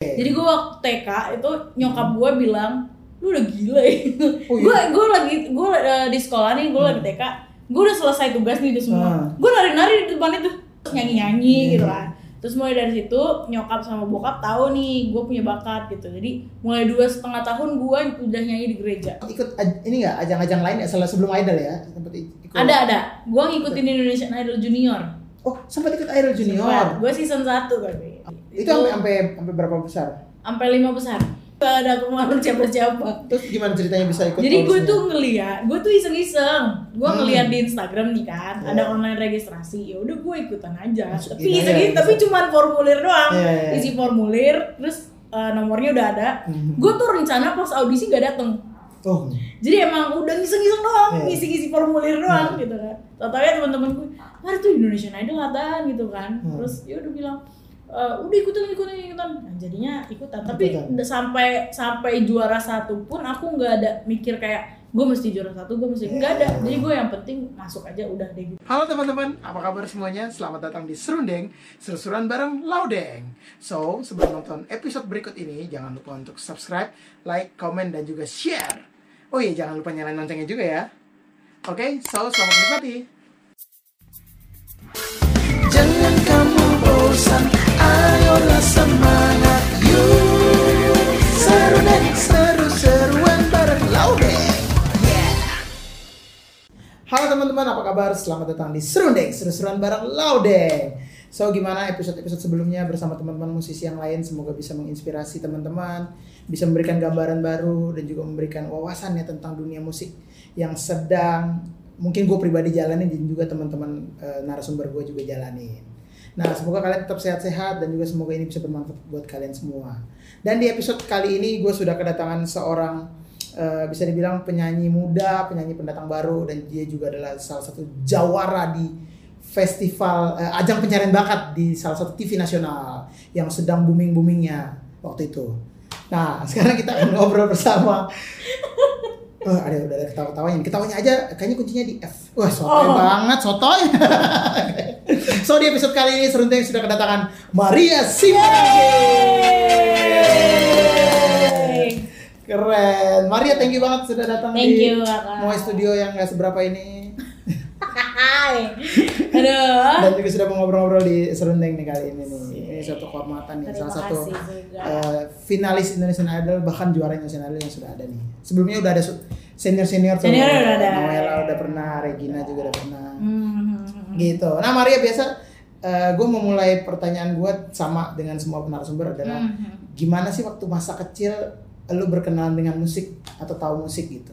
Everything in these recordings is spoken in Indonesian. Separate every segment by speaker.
Speaker 1: Jadi gue waktu TK itu nyokap gue bilang, lu udah gila ya.
Speaker 2: Oh, iya? Hmm.
Speaker 1: gue gue lagi gue eh, di sekolah nih, gue lagi TK. Gue udah selesai tugas nih udah semua.
Speaker 2: Ah.
Speaker 1: Gue nari-nari di depan itu, terus nyanyi-nyanyi
Speaker 2: Iya.
Speaker 1: gitu kan. Terus mulai dari situ nyokap sama bokap tahu nih gue punya bakat gitu. Jadi mulai dua setengah tahun gue udah nyanyi di gereja.
Speaker 2: ikut aj- ini nggak ajang-ajang lain ya sel- sebelum idol ya sempat ik- ikut
Speaker 1: Ada ada. Gue ngikutin Indonesian Idol Junior.
Speaker 2: oh sempat ikut idol junior
Speaker 1: Gue season 1 berarti.
Speaker 2: itu sampai sampai sampai berapa besar
Speaker 1: sampai lima besar. Gak ada pengaruh siapa-siapa.
Speaker 2: terus gimana ceritanya bisa ikut
Speaker 1: Jadi gue
Speaker 2: audisinya?
Speaker 1: tuh ngeliat, gue tuh iseng-iseng. Gue
Speaker 2: Hmm.
Speaker 1: ngeliat di Instagram nih kan,
Speaker 2: Iya.
Speaker 1: ada online registrasi. Ya udah gue ikutan aja.
Speaker 2: Masukin
Speaker 1: tapi
Speaker 2: aja,
Speaker 1: iseng-iseng, tapi
Speaker 2: iseng.
Speaker 1: cuman formulir doang.
Speaker 2: Iya, iya, iya.
Speaker 1: Isi formulir, terus eh, nomornya udah ada.
Speaker 2: Mhm.
Speaker 1: Gue tuh rencana pas audisi gak dateng.
Speaker 2: oh
Speaker 1: Jadi emang udah iseng-iseng doang,
Speaker 2: Iya.
Speaker 1: ngisi-ngisi formulir doang gitu kan. Totalnya teman-teman gue, "Mar tuh Indonesian Idol kataan gitu kan."
Speaker 2: Hmm.
Speaker 1: Terus dia udah bilang, "E, udah ikutan ikutan ikutan nah, jadinya ikutan tapi
Speaker 2: Ikutan.
Speaker 1: udah sampai sampai juara satu pun aku nggak ada mikir kayak gue mesti juara satu gue mesti nggak ada jadi gue yang penting masuk aja udah deh gitu
Speaker 2: Halo teman-teman, apa kabar semuanya? Selamat datang di Serundeng, seru-seruan bareng Laudeng. So, sebelum nonton episode berikut ini, jangan lupa untuk subscribe, like, komen, dan juga share. Oh iya, jangan lupa nyalain loncengnya juga ya. Oke, so selamat menikmati. Jangan kamu bosan, ayolah semangat yuk. Serundeng, seru-seruan bareng Laudeng. Halo teman-teman, apa kabar? Selamat datang di Serundeng, seru-seruan bareng Laudeng. So, gimana episode-episode sebelumnya bersama teman-teman musisi yang lain? Semoga bisa menginspirasi teman-teman, bisa memberikan gambaran baru, dan juga memberikan wawasan ya tentang dunia musik yang sedang mungkin gue pribadi jalani dan juga teman-teman eh, narasumber gue juga jalanin. Nah, semoga kalian tetap sehat-sehat dan juga semoga ini bisa bermanfaat buat kalian semua. Dan di episode kali ini gue sudah kedatangan seorang eh, bisa dibilang penyanyi muda, penyanyi pendatang baru dan dia juga adalah salah satu jawara di festival eh, ajang pencarian bakat di salah satu TV nasional yang sedang booming-boomingnya waktu itu. Nah, sekarang kita akan ngobrol bersama Oh, ada udah ada ketawa-ketawanya. Ketawanya aja kayaknya kuncinya di F. Wah, sotoy
Speaker 1: Oh.
Speaker 2: banget, sotoy. so di episode kali ini Serunting sudah kedatangan Maria Simanjuntak. Keren. Maria, thank you banget sudah datang
Speaker 1: Thank
Speaker 2: di
Speaker 1: you, Kakak.
Speaker 2: Moe Studio yang gak seberapa ini.
Speaker 1: Hai. aduh
Speaker 2: Dan juga sudah mau ngobrol-ngobrol di Serundeng nih kali ini nih.
Speaker 1: Ah. Sip.
Speaker 2: Ini suatu kehormatan nih.
Speaker 1: Terima
Speaker 2: Salah satu
Speaker 1: kasih juga.
Speaker 2: eh, finalis Indonesian Idol, bahkan juara Indonesian Idol yang sudah ada nih. Sebelumnya udah ada su- senior-senior. tuh.
Speaker 1: Senior udah ada.
Speaker 2: Noella udah pernah, Regina juga udah pernah.
Speaker 1: Hmm.
Speaker 2: Gitu. Nah Maria biasa, gue mau mulai pertanyaan gue sama dengan semua narasumber adalah
Speaker 1: Hmm.
Speaker 2: gimana sih waktu masa kecil lu berkenalan dengan musik atau tahu musik gitu?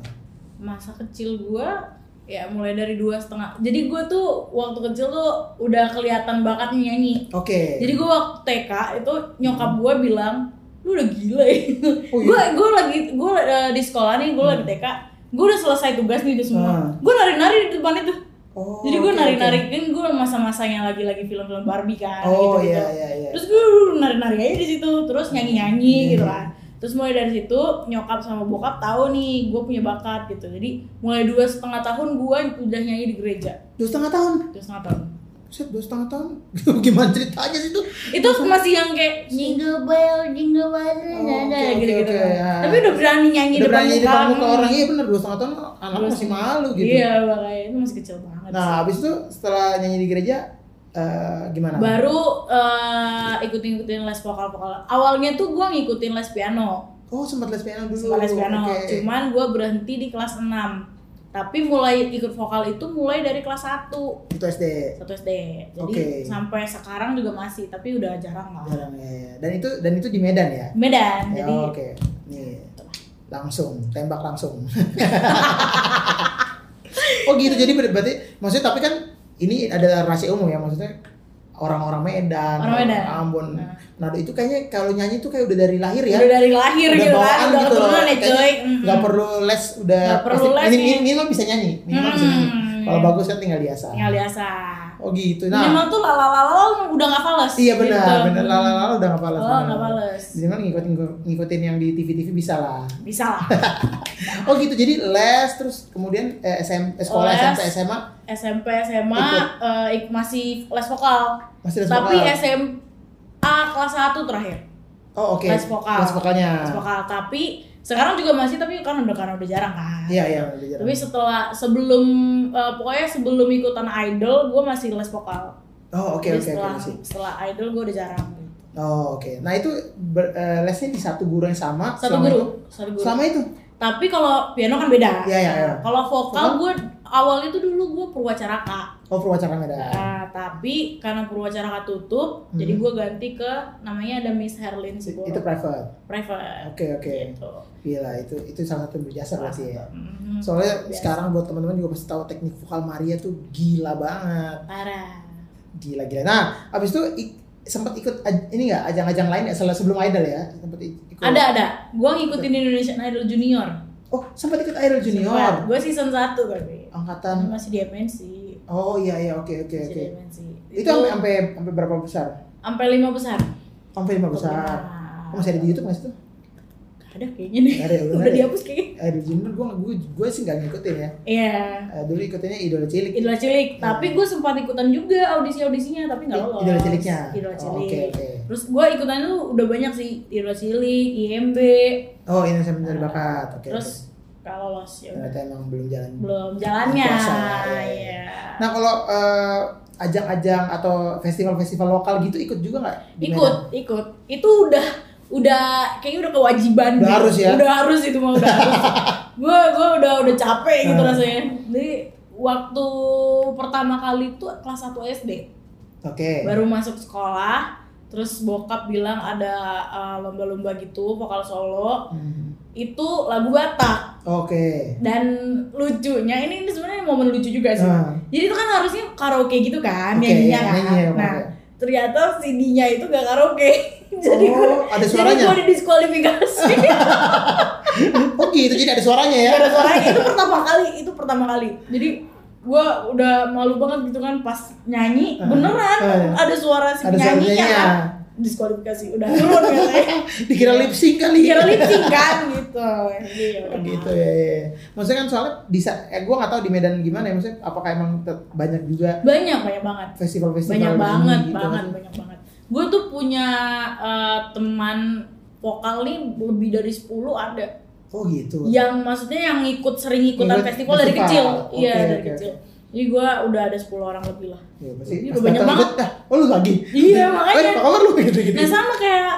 Speaker 1: masa kecil gua ya mulai dari dua setengah jadi gua tuh waktu kecil tuh udah kelihatan bakatnya nyanyi
Speaker 2: Oke.
Speaker 1: jadi gua waktu TK itu nyokap gua bilang lu udah gila ya
Speaker 2: Oh, iya? Hmm.
Speaker 1: gua gua lagi gua eh, di sekolah nih gua lagi TK gua udah selesai tugas nih udah semua
Speaker 2: Ah.
Speaker 1: gua nari-nari di depan itu
Speaker 2: Oh,
Speaker 1: jadi gua
Speaker 2: oke,
Speaker 1: nari-nari kan gua masa-masanya lagi-lagi film-film Barbie
Speaker 2: oke.
Speaker 1: kan
Speaker 2: Oh
Speaker 1: gitu-gitu.
Speaker 2: iya iya iya.
Speaker 1: Terus gue nari-nari aja di situ, terus nyanyi-nyanyi
Speaker 2: Hmm.
Speaker 1: gitu kan. Terus mulai dari situ nyokap sama bokap tahu nih gue punya bakat gitu. Jadi mulai dua setengah tahun gue udah nyanyi di gereja
Speaker 2: Dua setengah tahun.
Speaker 1: dua setengah tahun.
Speaker 2: Set dua setengah tahun. Gimana ceritanya sih itu?
Speaker 1: Itu masih yang kayak jingle bell, jingle bell,
Speaker 2: oke,
Speaker 1: nada,"
Speaker 2: oke,
Speaker 1: gitu-gitu.
Speaker 2: oke, ya.
Speaker 1: Tapi udah berani nyanyi
Speaker 2: Udah
Speaker 1: depan
Speaker 2: berani di
Speaker 1: muka.
Speaker 2: depan muka orang iya bener dua setengah tahun anak
Speaker 1: Dua
Speaker 2: masih
Speaker 1: setengah.
Speaker 2: malu gitu.
Speaker 1: Iya makanya itu masih kecil banget.
Speaker 2: Nah
Speaker 1: sih.
Speaker 2: habis itu setelah nyanyi di gereja eh, gimana?
Speaker 1: Baru eh, ikutin-ikutin les vokal-vokal. Awalnya tuh gue ngikutin les piano.
Speaker 2: Oh sempat les piano dulu.
Speaker 1: Sekolah les piano.
Speaker 2: Oke.
Speaker 1: Cuman gue berhenti di kelas 6 tapi mulai ikut vokal itu mulai dari kelas 1 1
Speaker 2: itu SD.
Speaker 1: SD jadi
Speaker 2: Oke.
Speaker 1: sampai sekarang juga masih tapi udah jarang lah
Speaker 2: Jarang ya, ya. Dan itu dan itu di Medan ya.
Speaker 1: Medan Nah,
Speaker 2: Ya,
Speaker 1: jadi
Speaker 2: oke. Nih. Langsung, tembak langsung. oh gitu. Jadi ber- berarti maksudnya tapi kan ini adalah rahasia umum ya maksudnya orang-orang Medan,
Speaker 1: Orang Medan.
Speaker 2: Ambon.
Speaker 1: Nah.
Speaker 2: Nado itu kayaknya kalau nyanyi itu kayak udah dari lahir ya.
Speaker 1: udah dari lahir
Speaker 2: Udah
Speaker 1: gitu kan
Speaker 2: bawaan
Speaker 1: udah
Speaker 2: gitu loh.
Speaker 1: keturunan ya
Speaker 2: Kayaknya
Speaker 1: cuy
Speaker 2: Nggak perlu les udah
Speaker 1: Nggak perlu les
Speaker 2: ini,
Speaker 1: nih.
Speaker 2: ini, lo bisa nyanyi. Minimal bisa nyanyi. Kalau bagus kan tinggal biasa.
Speaker 1: nggak biasa
Speaker 2: Oh gitu. Nah,
Speaker 1: minimal tuh lalalala udah nggak fales
Speaker 2: iya benar,
Speaker 1: gitu.
Speaker 2: benar. Lala lala udah nggak pales.
Speaker 1: oh nggak fales
Speaker 2: Minimal ngikutin ngikutin yang di TV-TV bisa lah.
Speaker 1: bisa lah
Speaker 2: Oh gitu, jadi les terus kemudian eh, SM, eh,
Speaker 1: Oh,
Speaker 2: sekolah
Speaker 1: Les.
Speaker 2: SMP SMA
Speaker 1: SMP SMA
Speaker 2: Ikut.
Speaker 1: eh, ik- masih les vokal
Speaker 2: masih les
Speaker 1: tapi
Speaker 2: vokal.
Speaker 1: SMA kelas 1 terakhir
Speaker 2: Oh oke.
Speaker 1: Les vokal.
Speaker 2: Les vokalnya.
Speaker 1: Les vokal. Tapi sekarang juga masih tapi kan udah karena udah jarang kan.
Speaker 2: Iya iya.
Speaker 1: Tapi setelah sebelum eh, pokoknya sebelum ikutan idol gue masih les vokal.
Speaker 2: Oh oke
Speaker 1: Jadi
Speaker 2: oke oke
Speaker 1: setelah
Speaker 2: masih.
Speaker 1: setelah idol gue udah jarang.
Speaker 2: Oh oke. Nah itu ber- eh, lesnya di satu guru yang sama.
Speaker 1: Satu
Speaker 2: selama
Speaker 1: guru,
Speaker 2: itu?
Speaker 1: satu guru.
Speaker 2: Selama itu.
Speaker 1: Tapi kalau piano kan beda.
Speaker 2: Iya, iya, iya.
Speaker 1: Kalau
Speaker 2: Vokal?
Speaker 1: vokal gue awal itu dulu gue Purwacaraka.
Speaker 2: Oh perwacara Medan.
Speaker 1: Nah, tapi karena Purwacaraka tutup,
Speaker 2: Hmm.
Speaker 1: jadi gue ganti ke namanya ada Miss Herlin sih
Speaker 2: Itu private.
Speaker 1: private.
Speaker 2: Oke oke.
Speaker 1: Gitu.
Speaker 2: Gila itu itu salah satu yang berjasa berarti ya.
Speaker 1: Mhm.
Speaker 2: Soalnya
Speaker 1: Biasa.
Speaker 2: sekarang buat teman-teman juga pasti tahu teknik vokal Maria tuh gila banget.
Speaker 1: Parah.
Speaker 2: Gila gila. Nah, abis itu ik- sempat ikut aj- ini nggak ajang-ajang lain ya setelah sebelum Idol ya? Sempat ik- ikut.
Speaker 1: Ada ada. Gue ngikutin Indonesian Idol Junior.
Speaker 2: Oh, sempat ikut Idol Junior.
Speaker 1: Gue season 1 tapi.
Speaker 2: Angkatan.
Speaker 1: Masih di MNC. Masih
Speaker 2: Oh iya iya oke oke oke.
Speaker 1: di MNC.
Speaker 2: Itu sampai sampai sampai berapa besar?
Speaker 1: sampai lima besar.
Speaker 2: Sampai lima besar. Oh, masih ada di YouTube nggak sih tuh?
Speaker 1: Gak ada kayaknya nih.
Speaker 2: Nggak ada ya, belum
Speaker 1: Udah
Speaker 2: ada ya?
Speaker 1: dihapus kayaknya.
Speaker 2: Idol Junior gue gue gue sih nggak ngikutin ya.
Speaker 1: Iya.
Speaker 2: Eh, dulu ikutinnya Idola Cilik.
Speaker 1: Idola cilik, tapi gue sempat ikutan juga audisi-audisinya tapi nggak lolos.
Speaker 2: Nah. Idola Ciliknya.
Speaker 1: Idola
Speaker 2: Oh,
Speaker 1: cilik.
Speaker 2: Oke oke.
Speaker 1: Terus gue ikutan tuh udah banyak sih Idola cilik, IMB,
Speaker 2: Oh ini saya mencari bakat. Oke.
Speaker 1: Nah, terus
Speaker 2: oke.
Speaker 1: nggak lolos ya udah.
Speaker 2: ternyata emang belum jalan.
Speaker 1: belum jalannya.
Speaker 2: Puasa, iya, iya.
Speaker 1: Iya.
Speaker 2: Nah kalau eh, ajang-ajang atau festival-festival lokal gitu ikut juga nggak? di
Speaker 1: ikut, ikut. Itu udah udah kayaknya udah kewajiban.
Speaker 2: Udah
Speaker 1: deh.
Speaker 2: harus ya?
Speaker 1: Udah harus itu mah udah harus. Gue gue udah udah capek gitu
Speaker 2: Hmm.
Speaker 1: rasanya. Jadi waktu pertama kali tuh kelas 1 SD.
Speaker 2: Medan? Oke.
Speaker 1: baru masuk sekolah terus bokap bilang ada uh, lomba-lomba gitu vokal solo
Speaker 2: Hmm.
Speaker 1: itu lagu Batak
Speaker 2: Oke.
Speaker 1: dan lucunya ini, ini sebenarnya momen lucu juga Iya sih
Speaker 2: Ah,
Speaker 1: jadi itu kan harusnya karaoke gitu kan
Speaker 2: Oke,
Speaker 1: nyanyinya kan
Speaker 2: nyanyi ya,
Speaker 1: nah
Speaker 2: oke.
Speaker 1: ternyata CD-nya itu gak karaoke jadi
Speaker 2: Oh,
Speaker 1: gua-
Speaker 2: ada
Speaker 1: jadi
Speaker 2: suaranya.
Speaker 1: gue didiskualifikasi
Speaker 2: Oh gitu jadi ada suaranya ya?
Speaker 1: Gak ada suaranya itu pertama kali itu pertama kali jadi gue udah malu banget gitu kan pas nyanyi
Speaker 2: Ah,
Speaker 1: beneran
Speaker 2: ah.
Speaker 1: ada suara si
Speaker 2: Ada
Speaker 1: penyanyinya
Speaker 2: suaranya.
Speaker 1: kan. diskualifikasi udah turun katanya
Speaker 2: Dikira lip sync kali.
Speaker 1: kira lip sync kan gitu Iya.
Speaker 2: Oh, gitu ya, ya, ya. Maksudnya kan soalnya di sa- eh, gue nggak tahu di Medan gimana ya. Maksudnya apakah emang tet- banyak juga
Speaker 1: banyak banyak banget banyak
Speaker 2: festival-festival
Speaker 1: banget
Speaker 2: ini gitu
Speaker 1: banget
Speaker 2: kan?
Speaker 1: banyak banget gue tuh punya eh, teman vokal nih lebih dari 10 ada
Speaker 2: Oh gitu.
Speaker 1: yang maksudnya yang ikut sering ikutan
Speaker 2: Ikut
Speaker 1: festival dari
Speaker 2: festival.
Speaker 1: kecil iya
Speaker 2: Oke,
Speaker 1: dari
Speaker 2: oke,
Speaker 1: kecil jadi gue udah ada 10 orang lebih lah
Speaker 2: Ya, pasti
Speaker 1: Ini
Speaker 2: pas
Speaker 1: udah Iya, banyak
Speaker 2: datang
Speaker 1: banget.
Speaker 2: ikut, "Dah, Oh lu lagi?
Speaker 1: Iya, makanya.
Speaker 2: Eh, apa kabar lu? Gitu-gitu.
Speaker 1: Nah sama kayak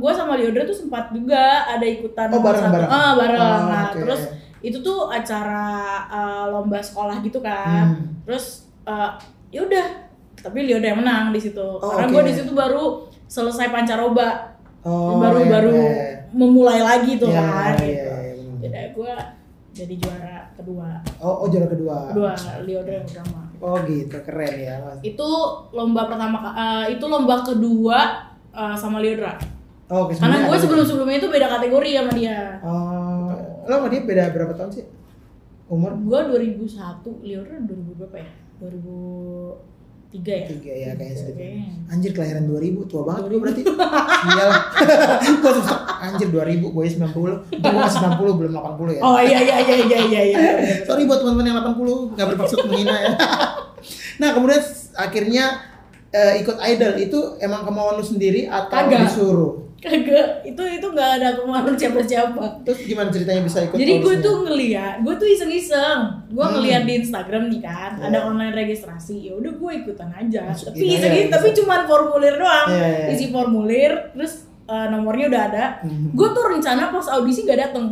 Speaker 1: gue sama Liodra tuh sempat juga ada ikutan
Speaker 2: Oh, bareng-bareng?
Speaker 1: satu- ah, bareng.
Speaker 2: Oh,
Speaker 1: nah
Speaker 2: oke.
Speaker 1: terus itu tuh acara eh, lomba sekolah gitu kan.
Speaker 2: Hmm.
Speaker 1: Terus eh, ya udah tapi Liodra yang menang di situ. Karena
Speaker 2: Oh, oke.
Speaker 1: gue di situ baru selesai pancaroba,
Speaker 2: Oh,
Speaker 1: baru
Speaker 2: iya,
Speaker 1: baru
Speaker 2: iya, iya.
Speaker 1: memulai lagi tuh
Speaker 2: Iya,
Speaker 1: kan.
Speaker 2: iya,
Speaker 1: gitu.
Speaker 2: iya, benar.
Speaker 1: Jadi gue jadi juara kedua,
Speaker 2: Oh, oh juara kedua.
Speaker 1: kedua Liodra yang pertama.
Speaker 2: Oh gitu, keren ya. Mas.
Speaker 1: Itu lomba pertama, ka- eh, itu lomba kedua eh, sama Liodra.
Speaker 2: Oh, oke,
Speaker 1: Karena
Speaker 2: sebenarnya
Speaker 1: gue
Speaker 2: ada.
Speaker 1: sebelum-sebelumnya itu beda kategori sama dia.
Speaker 2: Oh, lo sama dia beda berapa tahun sih? Umur
Speaker 1: Gue 2001, Liora 2000 berapa ya? 2003 ya?
Speaker 2: tiga ya kayaknya sedikit.
Speaker 1: Kayaknya.
Speaker 2: Anjir kelahiran 2000 tua banget gue berarti. Iya Iyalah. gue susah. Anjir 2000 gue 90. Gue masih 90 belum 80 ya.
Speaker 1: Oh iya iya iya iya iya iya.
Speaker 2: Sorry buat teman-teman yang 80 nggak bermaksud menghina ya. nah kemudian s- akhirnya eh, ikut idol itu emang kemauan lu sendiri atau
Speaker 1: Kagak.
Speaker 2: disuruh?
Speaker 1: Kagak, itu itu nggak ada pengaruh siapa-siapa.
Speaker 2: Terus gimana ceritanya bisa ikut?
Speaker 1: Jadi gue
Speaker 2: audisinya?
Speaker 1: tuh ngeliat, gue tuh iseng-iseng, gue
Speaker 2: Hmm.
Speaker 1: ngeliat di Instagram nih kan,
Speaker 2: Iya.
Speaker 1: ada online registrasi, ya udah gue ikutan aja.
Speaker 2: Masukin
Speaker 1: tapi
Speaker 2: aja,
Speaker 1: iseng-iseng,
Speaker 2: iseng.
Speaker 1: tapi cuman formulir doang,
Speaker 2: Iya, iya.
Speaker 1: isi formulir, terus eh, nomornya udah ada.
Speaker 2: Hmm.
Speaker 1: Gue tuh rencana pas audisi gak dateng,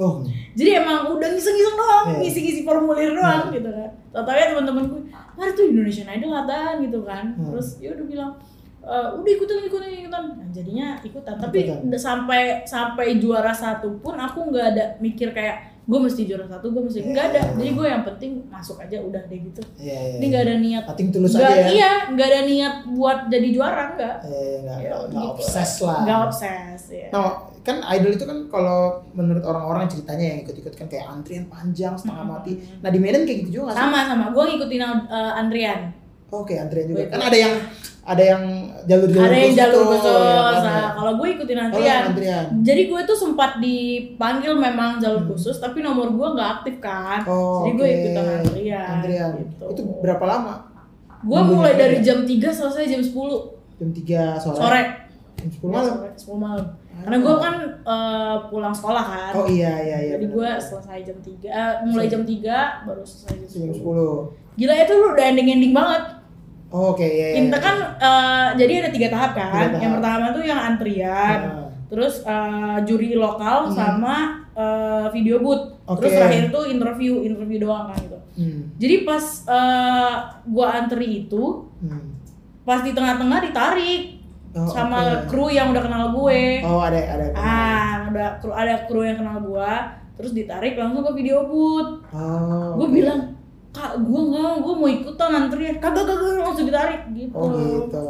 Speaker 2: Oh,
Speaker 1: jadi emang udah ngiseng-ngiseng doang,
Speaker 2: Iya.
Speaker 1: ngisi-ngisi formulir doang
Speaker 2: Hmm.
Speaker 1: gitu kan. Totalnya teman-teman gue, hari tuh Indonesian Idol kataan gitu kan.
Speaker 2: Hmm.
Speaker 1: Terus dia udah bilang, "E, udah ikutan ikutan ikutan. Nah, jadinya ikutan. Tapi
Speaker 2: Ikutan.
Speaker 1: udah sampai sampai juara satu pun aku nggak ada mikir kayak gue mesti juara satu, gue mesti nggak ada. Jadi gue yang penting masuk aja udah deh gitu.
Speaker 2: iya
Speaker 1: Ini
Speaker 2: iya.
Speaker 1: nggak ada niat.
Speaker 2: Ating tulus
Speaker 1: nggak-
Speaker 2: aja ya.
Speaker 1: Iya, nggak ada niat buat jadi juara nggak.
Speaker 2: Eh, nggak
Speaker 1: Ya,
Speaker 2: nggak- nggak
Speaker 1: gitu.
Speaker 2: obses lah.
Speaker 1: Nggak obses ya.
Speaker 2: Nah, kan idol itu kan kalau menurut orang-orang ceritanya yang ikut-ikut kan kayak antrian panjang setengah
Speaker 1: Hmm.
Speaker 2: mati. Nah di Medan kayak gitu juga nggak sih?
Speaker 1: Sama sama, gue ngikutin uh, Andrian.
Speaker 2: Oke antrian juga.
Speaker 1: Gue
Speaker 2: Kan ada yang ada yang jalur-jalur
Speaker 1: ada yang
Speaker 2: khusus
Speaker 1: jalur
Speaker 2: tuh,
Speaker 1: khusus.
Speaker 2: ya kan,
Speaker 1: Nah,
Speaker 2: ya.
Speaker 1: kalau gue ikutin
Speaker 2: Oh, yang
Speaker 1: antrian.
Speaker 2: antrian.
Speaker 1: Jadi gue tuh sempat dipanggil memang jalur
Speaker 2: Hmm.
Speaker 1: khusus, tapi nomor gue nggak aktif kan.
Speaker 2: Oh,
Speaker 1: Jadi gue
Speaker 2: oke.
Speaker 1: ikutan antrian.
Speaker 2: Antrian.
Speaker 1: Gitu.
Speaker 2: Itu berapa lama?
Speaker 1: Gue
Speaker 2: nunggunya
Speaker 1: mulai
Speaker 2: berapa
Speaker 1: dari
Speaker 2: ya?
Speaker 1: jam 3 selesai jam 10
Speaker 2: Jam 3 sore.
Speaker 1: sore.
Speaker 2: Jam 10 malam.
Speaker 1: Sampai 10 malam. Karena gue kan eh, pulang sekolah kan.
Speaker 2: Oh iya iya iya.
Speaker 1: Jadi gue
Speaker 2: benar.
Speaker 1: selesai jam 3, eh, mulai jam 3 baru selesai jam
Speaker 2: jam 10.
Speaker 1: 10. Gila itu lu udah ending-ending banget.
Speaker 2: Oh, Oke iya. iya.
Speaker 1: Kita kan eh, jadi ada tiga tahap
Speaker 2: Tiga
Speaker 1: kan.
Speaker 2: tahap.
Speaker 1: Yang pertama tuh yang antrian,
Speaker 2: Ah.
Speaker 1: terus eh, juri lokal
Speaker 2: Hmm.
Speaker 1: sama eh, video booth.
Speaker 2: Oke.
Speaker 1: Terus terakhir tuh interview, interview doang kan gitu.
Speaker 2: Hmm.
Speaker 1: Jadi pas eh, gua antri itu,
Speaker 2: hmm.
Speaker 1: pas di tengah-tengah ditarik
Speaker 2: Oh,
Speaker 1: sama
Speaker 2: oke.
Speaker 1: kru yang udah kenal gue.
Speaker 2: Oh ada ada. ada.
Speaker 1: Ah, ada kru ada kru yang kenal gua, terus ditarik langsung ke video booth.
Speaker 2: Oh.
Speaker 1: Gue
Speaker 2: oke.
Speaker 1: bilang, "Kak, gua enggak, gua mau ikutan antrian." Kagak, kagak, langsung ditarik gitu.
Speaker 2: Oh gitu.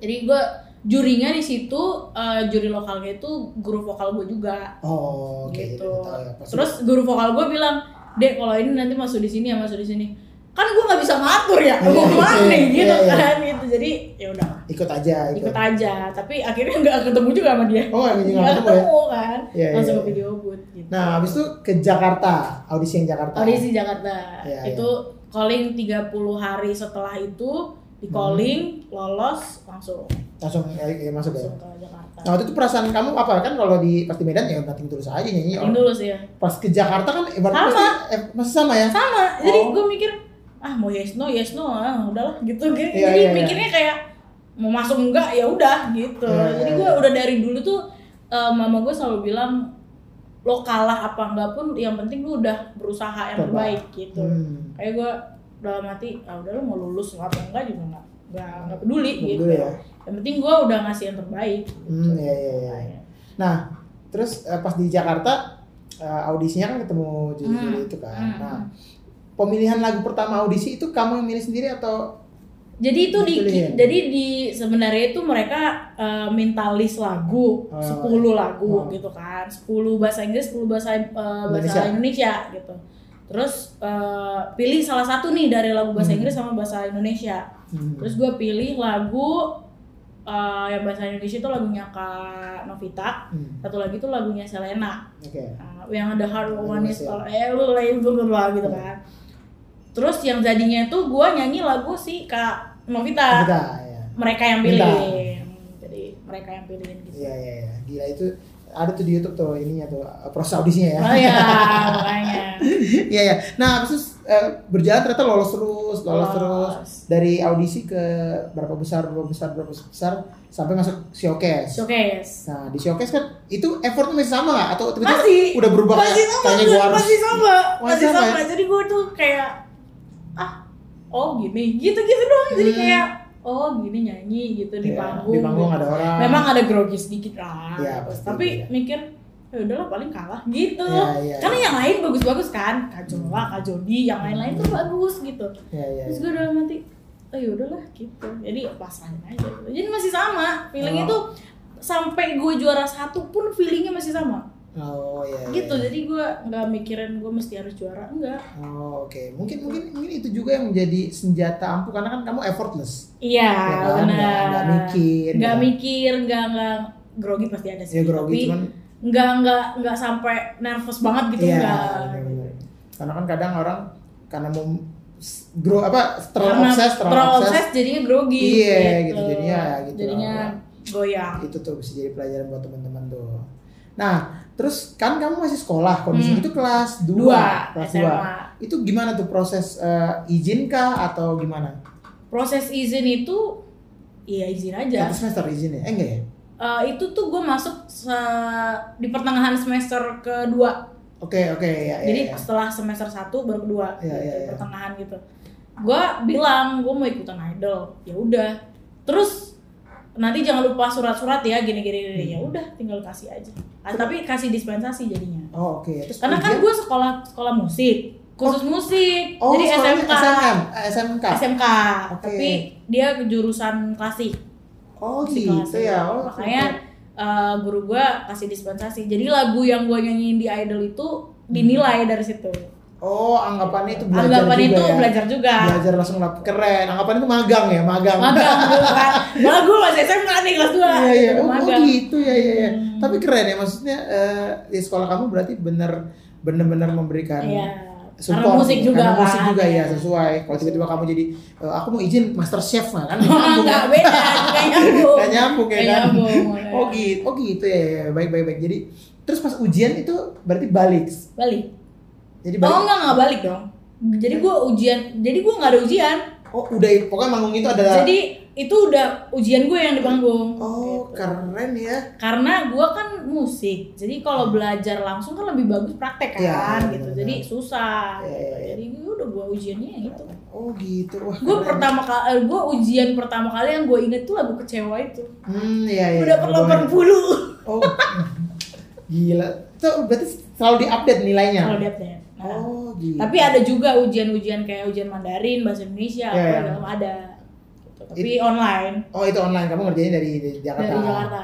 Speaker 1: Jadi gua jurinya di situ eh, juri lokalnya itu guru vokal gue juga
Speaker 2: Oh oke.
Speaker 1: gitu.
Speaker 2: udah tahu ya, pasti.
Speaker 1: Terus guru vokal gue bilang, "Dek, kalau ini nanti masuk di sini ya, masuk di sini." Kan gua nggak bisa ngatur ya,
Speaker 2: Iya,
Speaker 1: mau kemana
Speaker 2: iya,
Speaker 1: gitu
Speaker 2: iya, iya.
Speaker 1: kan gitu. Jadi ya udah
Speaker 2: ikut aja ikut.
Speaker 1: ikut aja, tapi akhirnya nggak ketemu juga sama dia.
Speaker 2: Oh yang
Speaker 1: Nggak
Speaker 2: nggak ketemu ya.
Speaker 1: ketemu kan,
Speaker 2: Iya, iya,
Speaker 1: langsung
Speaker 2: iya.
Speaker 1: ke video booth gitu.
Speaker 2: Nah habis itu ke Jakarta audisi yang Jakarta.
Speaker 1: audisi Jakarta
Speaker 2: Iya,
Speaker 1: itu calling 30 hari setelah itu
Speaker 2: Hmm.
Speaker 1: di calling lolos langsung
Speaker 2: Langsung ya, ya, masuk ya.
Speaker 1: langsung ke Jakarta
Speaker 2: Nah waktu itu perasaan kamu apa kan kalau di pas di Medan ya nothing terus aja nyanyi.
Speaker 1: Ini dulu sih ya
Speaker 2: Pas ke Jakarta kan eh, berarti
Speaker 1: Sama.
Speaker 2: pasti eh, masih sama ya.
Speaker 1: sama jadi
Speaker 2: Oh.
Speaker 1: gue mikir ah mau yes no yes no ah udahlah gitu Kayak-
Speaker 2: Iya,
Speaker 1: jadi
Speaker 2: iya, iya.
Speaker 1: mikirnya kayak mau masuk enggak ya udah gitu
Speaker 2: Iya,
Speaker 1: jadi
Speaker 2: iya,
Speaker 1: gue
Speaker 2: iya.
Speaker 1: udah dari dulu tuh eh, mama gue selalu bilang lo kalah apa enggak pun yang penting lu udah berusaha yang
Speaker 2: Coba.
Speaker 1: terbaik gitu
Speaker 2: Hmm.
Speaker 1: kayak gue dalam hati ah udah lo mau lulus apa enggak juga enggak enggak, enggak peduli gitu
Speaker 2: Dulu ya.
Speaker 1: yang penting gue udah ngasih yang terbaik gitu.
Speaker 2: Hmm ya ya ya. Nah, terus eh, pas di Jakarta eh, audisinya kan ketemu Juli
Speaker 1: Hmm.
Speaker 2: itu kan.
Speaker 1: Hmm.
Speaker 2: Nah, pemilihan lagu pertama audisi itu kamu yang milih sendiri atau
Speaker 1: jadi itu di
Speaker 2: Dipilihin.
Speaker 1: jadi di sebenarnya itu mereka eh, minta list lagu
Speaker 2: Oh,
Speaker 1: 10 lagu
Speaker 2: Oh.
Speaker 1: gitu kan 10 bahasa Inggris 10 bahasa eh, bahasa
Speaker 2: Indonesia.
Speaker 1: Indonesia gitu terus eh, pilih salah satu nih dari lagu bahasa
Speaker 2: Hmm.
Speaker 1: Inggris sama bahasa Indonesia
Speaker 2: Hmm.
Speaker 1: terus gue pilih lagu eh, yang bahasa Indonesia itu lagunya Kak Novita
Speaker 2: Hmm,
Speaker 1: satu lagi itu lagunya Selena
Speaker 2: Oke.
Speaker 1: Uh, yang ada hard
Speaker 2: Lagu
Speaker 1: one is
Speaker 2: Indonesia. Hmm.
Speaker 1: all eh lu lain bla bla bla gitu kan terus yang jadinya tuh gua nyanyi lagu si kak Novita
Speaker 2: Kita ya.
Speaker 1: mereka yang
Speaker 2: Minta.
Speaker 1: pilih jadi mereka yang pilihin gitu
Speaker 2: Iya iya iya. Gila itu ada tuh di YouTube tuh ininya tuh eh, proses audisinya ya.
Speaker 1: oh ya makanya
Speaker 2: Iya ya. Nah, habis itu eh, berjalan ternyata lolos terus, lolos
Speaker 1: Lolos.
Speaker 2: terus dari audisi ke berapa besar, berapa besar, berapa besar sampai masuk showcase.
Speaker 1: showcase
Speaker 2: Nah, di showcase kan itu effortnya masih sama nggak? Atau tiba-tiba
Speaker 1: Masih.
Speaker 2: udah berubah
Speaker 1: masih
Speaker 2: kayak,
Speaker 1: sama
Speaker 2: kayaknya
Speaker 1: Zul,
Speaker 2: gua harus
Speaker 1: masih sama
Speaker 2: Wah,
Speaker 1: masih
Speaker 2: sama
Speaker 1: sama
Speaker 2: ya?
Speaker 1: jadi gua tuh kayak ah oh gini gitu gitu doang jadi
Speaker 2: Hmm.
Speaker 1: kayak oh gini nyanyi gitu di
Speaker 2: Iya,
Speaker 1: panggung
Speaker 2: Di panggung ada orang.
Speaker 1: memang ada grogi sedikit lah
Speaker 2: Iya,
Speaker 1: gitu.
Speaker 2: pasti,
Speaker 1: tapi
Speaker 2: iya.
Speaker 1: mikir ya udahlah paling kalah gitu
Speaker 2: Iya, iya,
Speaker 1: karena yang lain bagus-bagus kan kak Jola, kak Jody yang lain-lain tuh bagus gitu
Speaker 2: Iya, iya.
Speaker 1: terus
Speaker 2: iya.
Speaker 1: gue udah mati oh ya udahlah gitu jadi pasahin aja gitu. jadi masih sama feelingnya
Speaker 2: Oh.
Speaker 1: tuh sampai gue juara satu pun feelingnya masih sama
Speaker 2: Oh, iya. iya.
Speaker 1: gitu jadi gue nggak mikirin gue mesti harus juara enggak
Speaker 2: Oh, oke. Mungkin mungkin mungkin itu juga yang menjadi senjata ampuh karena kan kamu effortless.
Speaker 1: iya
Speaker 2: ya kan?
Speaker 1: benar
Speaker 2: Nggak- nggak mikir.
Speaker 1: nggak mikir nggak nggak grogi pasti ada sih
Speaker 2: Ya grogi
Speaker 1: tapi
Speaker 2: cuman
Speaker 1: nggak nggak nggak sampai nervous banget gitu
Speaker 2: Iya,
Speaker 1: nggak
Speaker 2: benar-benar. Karena kan kadang orang karena mau s- grow apa terlalu
Speaker 1: Karena
Speaker 2: obses, terlalu
Speaker 1: terlalu
Speaker 2: obses,
Speaker 1: obses jadinya grogi
Speaker 2: Iya, gitu. Jadinya ya gitu
Speaker 1: jadinya
Speaker 2: lah.
Speaker 1: goyang
Speaker 2: itu tuh bisa jadi pelajaran buat teman-teman tuh. Nah, terus kan kamu masih sekolah, kondisi
Speaker 1: Hmm.
Speaker 2: itu kelas 2,
Speaker 1: dua
Speaker 2: kelas
Speaker 1: SMA
Speaker 2: 2. Itu gimana tuh proses eh, izin kah atau gimana?
Speaker 1: proses izin itu iya izin aja
Speaker 2: Satu semester izin ya? Eh enggak ya?
Speaker 1: Eh, itu tuh gue masuk se- di pertengahan semester kedua
Speaker 2: Oke, oke, ya, ya.
Speaker 1: jadi
Speaker 2: ya.
Speaker 1: setelah semester satu baru kedua
Speaker 2: Iya,
Speaker 1: gitu,
Speaker 2: iya, iya.
Speaker 1: pertengahan gitu gue bilang gue mau ikutan idol ya udah terus nanti jangan lupa surat-surat ya gini-gini gini.
Speaker 2: Hmm.
Speaker 1: ya udah tinggal kasih aja Ah, tapi kasih dispensasi jadinya
Speaker 2: Oh, oke. Terus
Speaker 1: Karena kan
Speaker 2: ujian-
Speaker 1: gue sekolah sekolah musik, khusus musik.
Speaker 2: Oh,
Speaker 1: jadi
Speaker 2: sekolahnya
Speaker 1: SMK.
Speaker 2: SMM, eh, SMK.
Speaker 1: SMK.
Speaker 2: Oke.
Speaker 1: Tapi dia ke jurusan klasik.
Speaker 2: Oh,
Speaker 1: musik
Speaker 2: gitu ya. Oh,
Speaker 1: Makanya eh, guru gue kasih dispensasi. Jadi lagu yang gue nyanyiin di Idol itu dinilai dari situ.
Speaker 2: Oh, anggapannya itu belajar
Speaker 1: Anggapan
Speaker 2: juga
Speaker 1: itu
Speaker 2: ya.
Speaker 1: belajar juga.
Speaker 2: Belajar langsung lap keren. Anggapannya itu magang ya, magang.
Speaker 1: Magang gue kan. Malah gue masih SMK nih kelas 2.
Speaker 2: Iya iya. Oh, oh,
Speaker 1: Magang.
Speaker 2: gitu ya ya ya.
Speaker 1: Hmm.
Speaker 2: Tapi keren ya maksudnya eh, di sekolah kamu berarti bener bener-bener memberikan
Speaker 1: Iya.
Speaker 2: support
Speaker 1: Karena musik juga
Speaker 2: karena musik
Speaker 1: kan.
Speaker 2: juga ya sesuai kalau tiba-tiba kamu jadi e, aku mau izin master chef nah kan nggak nyambung
Speaker 1: Enggak Iya, beda, kayak nyambung.
Speaker 2: Nggak nyambung
Speaker 1: Nggak
Speaker 2: ya kan
Speaker 1: nyambung,
Speaker 2: oh
Speaker 1: ya.
Speaker 2: gitu oh gitu ya, ya, ya. baik baik baik jadi terus pas ujian itu berarti balik
Speaker 1: Balik.
Speaker 2: jadi
Speaker 1: Oh
Speaker 2: balik
Speaker 1: enggak enggak balik dong.
Speaker 2: Hmm.
Speaker 1: Jadi gue ujian, jadi gue nggak ada ujian.
Speaker 2: oh udah pokoknya manggung itu adalah
Speaker 1: Jadi itu udah ujian gue yang di panggung.
Speaker 2: oh
Speaker 1: Gitu.
Speaker 2: keren ya
Speaker 1: Karena gue kan musik, jadi kalau belajar langsung kan lebih bagus praktek kan,
Speaker 2: Iya,
Speaker 1: gitu.
Speaker 2: Hmm. benar-benar.
Speaker 1: Jadi susah.
Speaker 2: Iya,
Speaker 1: gitu.
Speaker 2: iya, iya.
Speaker 1: Jadi gue udah gue ujiannya ya gitu.
Speaker 2: oh gitu wah
Speaker 1: Gue
Speaker 2: keren.
Speaker 1: pertama kali, gue ujian pertama kali yang gue inget tuh lagu kecewa itu.
Speaker 2: hmm ya ya
Speaker 1: udah perlombaan bulu.
Speaker 2: oh gila itu berarti selalu diupdate nilainya
Speaker 1: Kalau dia update. Nah,
Speaker 2: Iya. oh gitu
Speaker 1: Tapi ada juga ujian-ujian kayak ujian Mandarin, bahasa Indonesia,
Speaker 2: Iya,
Speaker 1: apa
Speaker 2: iya.
Speaker 1: dalam ada. Gitu. Tapi online
Speaker 2: oh itu online kamu ngerjain dari, dari Jakarta
Speaker 1: dari Jakarta.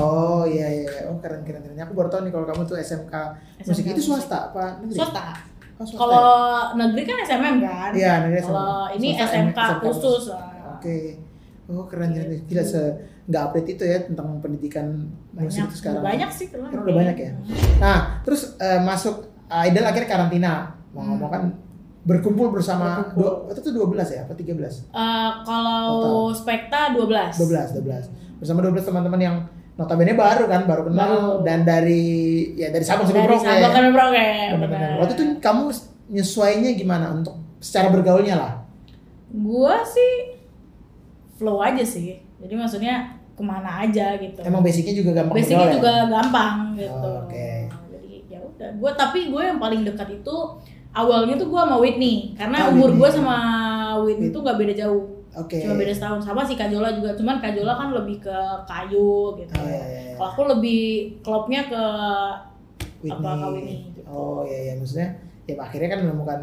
Speaker 2: Oh iya iya, iya. oh keren keren keren. Aku baru tahu nih kalau kamu tuh SMK, musik
Speaker 1: SMK
Speaker 2: itu swasta apa negeri?
Speaker 1: swasta.
Speaker 2: Oh, swasta
Speaker 1: Kalau negeri kan SMM kan?
Speaker 2: ya? Iya negeri swasta.
Speaker 1: Kalau ini
Speaker 2: Swasta,
Speaker 1: SMK khusus.
Speaker 2: Oke. Oh keren keren. Gila se nggak update itu ya tentang pendidikan musik
Speaker 1: Banyak,
Speaker 2: itu sekarang.
Speaker 1: banyak sih teman.
Speaker 2: Kan udah banyak ya? Nah terus eh, masuk eh, Idol akhirnya karantina. Mau
Speaker 1: Hmm.
Speaker 2: ngomong kan berkumpul bersama
Speaker 1: Berkumpul.
Speaker 2: dua, itu tuh 12 ya apa 13?
Speaker 1: Eh, kalau Spekta 12.
Speaker 2: 12, 12. Bersama 12 teman-teman yang notabene baru kan, baru kenal
Speaker 1: Baru.
Speaker 2: dan dari ya dari Sabang sampai
Speaker 1: Dari
Speaker 2: Merauke. ya?
Speaker 1: Sabang ke Merauke.
Speaker 2: Benar-benar.
Speaker 1: benar.
Speaker 2: Waktu itu kamu nyesuainya gimana untuk secara bergaulnya lah?
Speaker 1: gua sih flow aja sih. Jadi maksudnya kemana aja gitu.
Speaker 2: Emang basicnya juga gampang
Speaker 1: basicnya
Speaker 2: bergaul ya?
Speaker 1: juga gampang gitu.
Speaker 2: Oh, oke.
Speaker 1: Jadi ya udah. Gua tapi gue yang paling dekat itu awalnya tuh gue sama Whitney
Speaker 2: Oh,
Speaker 1: karena umur
Speaker 2: Whitney.
Speaker 1: gue sama Whitney tuh gak beda jauh.
Speaker 2: ya? Oke.
Speaker 1: Cuma beda setahun sama si Kajola juga, cuman Kajola kan lebih ke kayu gitu.
Speaker 2: Oh, iya, iya, iya.
Speaker 1: Kalau aku lebih klopnya ke
Speaker 2: Whitney.
Speaker 1: apa kawin ini, gitu.
Speaker 2: Oh iya iya maksudnya ya akhirnya kan menemukan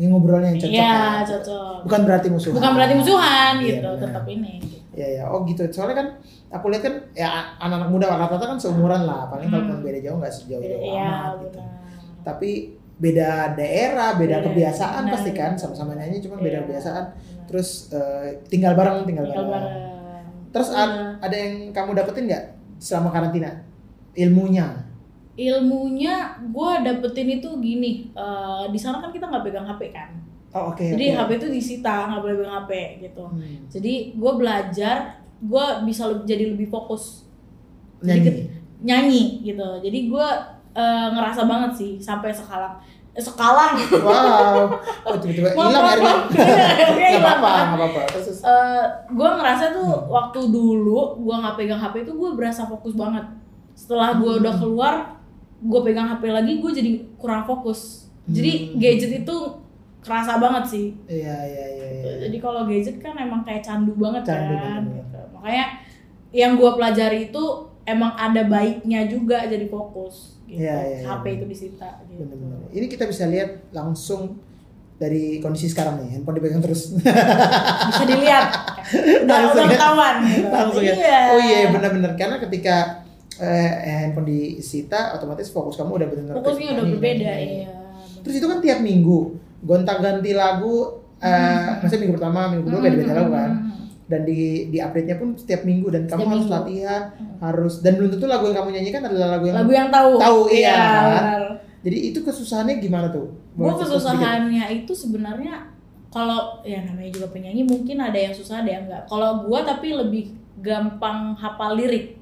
Speaker 2: yang ngobrolnya yang cocok.
Speaker 1: ya
Speaker 2: kan.
Speaker 1: cocok.
Speaker 2: Bukan berarti musuhan.
Speaker 1: Bukan berarti musuhan
Speaker 2: Iya,
Speaker 1: gitu,
Speaker 2: benar.
Speaker 1: tetap ini. gitu.
Speaker 2: Iya ya, oh gitu. Soalnya kan aku lihat kan ya anak-anak muda rata-rata kan seumuran lah, paling kalau
Speaker 1: Hmm.
Speaker 2: cuma beda jauh nggak sejauh jauh
Speaker 1: Iya,
Speaker 2: amat gitu.
Speaker 1: benar.
Speaker 2: Tapi beda daerah, beda
Speaker 1: Beda,
Speaker 2: kebiasaan
Speaker 1: Iya, benar.
Speaker 2: pasti kan, sama-sama nyanyi cuma beda
Speaker 1: Iya.
Speaker 2: kebiasaan. Terus eh, tinggal bareng, tinggal,
Speaker 1: Tinggal
Speaker 2: bareng. Iya.
Speaker 1: bareng.
Speaker 2: Terus ad- ada yang kamu dapetin nggak selama karantina? Ilmunya.
Speaker 1: ilmunya gue dapetin itu gini, eh, di sana kan kita nggak pegang HP kan,
Speaker 2: Oh oke.
Speaker 1: jadi
Speaker 2: oke.
Speaker 1: HP itu disita nggak boleh pegang HP gitu.
Speaker 2: Hmm.
Speaker 1: Jadi gue belajar, gue bisa lebih- jadi lebih fokus. Jadi
Speaker 2: Nyanyi.
Speaker 1: ke- nyanyi gitu jadi gue ngerasa banget sih sampai sekarang eh, sekarang
Speaker 2: Wow. Oh tiba-tiba
Speaker 1: Maaf,
Speaker 2: hilang
Speaker 1: maaf,
Speaker 2: airnya.
Speaker 1: maaf. Iya,
Speaker 2: Nggak
Speaker 1: hilang.
Speaker 2: apa-apa, nggak apa-apa. Terus- terus.
Speaker 1: gue ngerasa tuh waktu dulu gue nggak pegang HP itu gue berasa fokus banget setelah gue udah
Speaker 2: Hmm.
Speaker 1: keluar gue pegang HP lagi gue jadi kurang fokus jadi
Speaker 2: Hmm.
Speaker 1: gadget itu kerasa banget sih
Speaker 2: Iya iya iya. iya.
Speaker 1: jadi kalau gadget kan emang kayak candu banget
Speaker 2: Candu
Speaker 1: kan
Speaker 2: banget. iya.
Speaker 1: gitu. makanya yang gue pelajari itu emang ada baiknya juga jadi fokus gitu.
Speaker 2: Iya, iya, iya.
Speaker 1: HP itu disita gitu.
Speaker 2: Bener-bener. Ini kita bisa lihat langsung dari kondisi sekarang nih, handphone dipegang terus.
Speaker 1: Eh. bisa dilihat udah udah
Speaker 2: Langsung ya?
Speaker 1: ketahuan gitu.
Speaker 2: langsung ya.
Speaker 1: Iya.
Speaker 2: Oh iya benar-benar karena ketika eh, handphone disita otomatis fokus kamu udah benar-benar ke
Speaker 1: fokusnya udah
Speaker 2: nyanyi,
Speaker 1: berbeda
Speaker 2: nyanyi.
Speaker 1: iya
Speaker 2: kan? Terus itu kan tiap minggu gonta-ganti lagu eh
Speaker 1: Hmm.
Speaker 2: maksudnya minggu pertama, minggu kedua beda-beda lagu kan. Dan di di update-nya pun setiap minggu dan kamu
Speaker 1: Setiap
Speaker 2: harus
Speaker 1: minggu.
Speaker 2: latihan, harus dan belum tentu lagu yang kamu nyanyikan adalah lagu yang
Speaker 1: lagu yang tahu
Speaker 2: Tahu, iya, kan?
Speaker 1: benar.
Speaker 2: Jadi itu kesusahannya gimana tuh?
Speaker 1: gua
Speaker 2: Boleh cerita sedikit?
Speaker 1: kesusahannya itu sebenarnya kalau ya namanya juga penyanyi mungkin ada yang susah ada yang enggak kalau gua tapi lebih gampang hafal lirik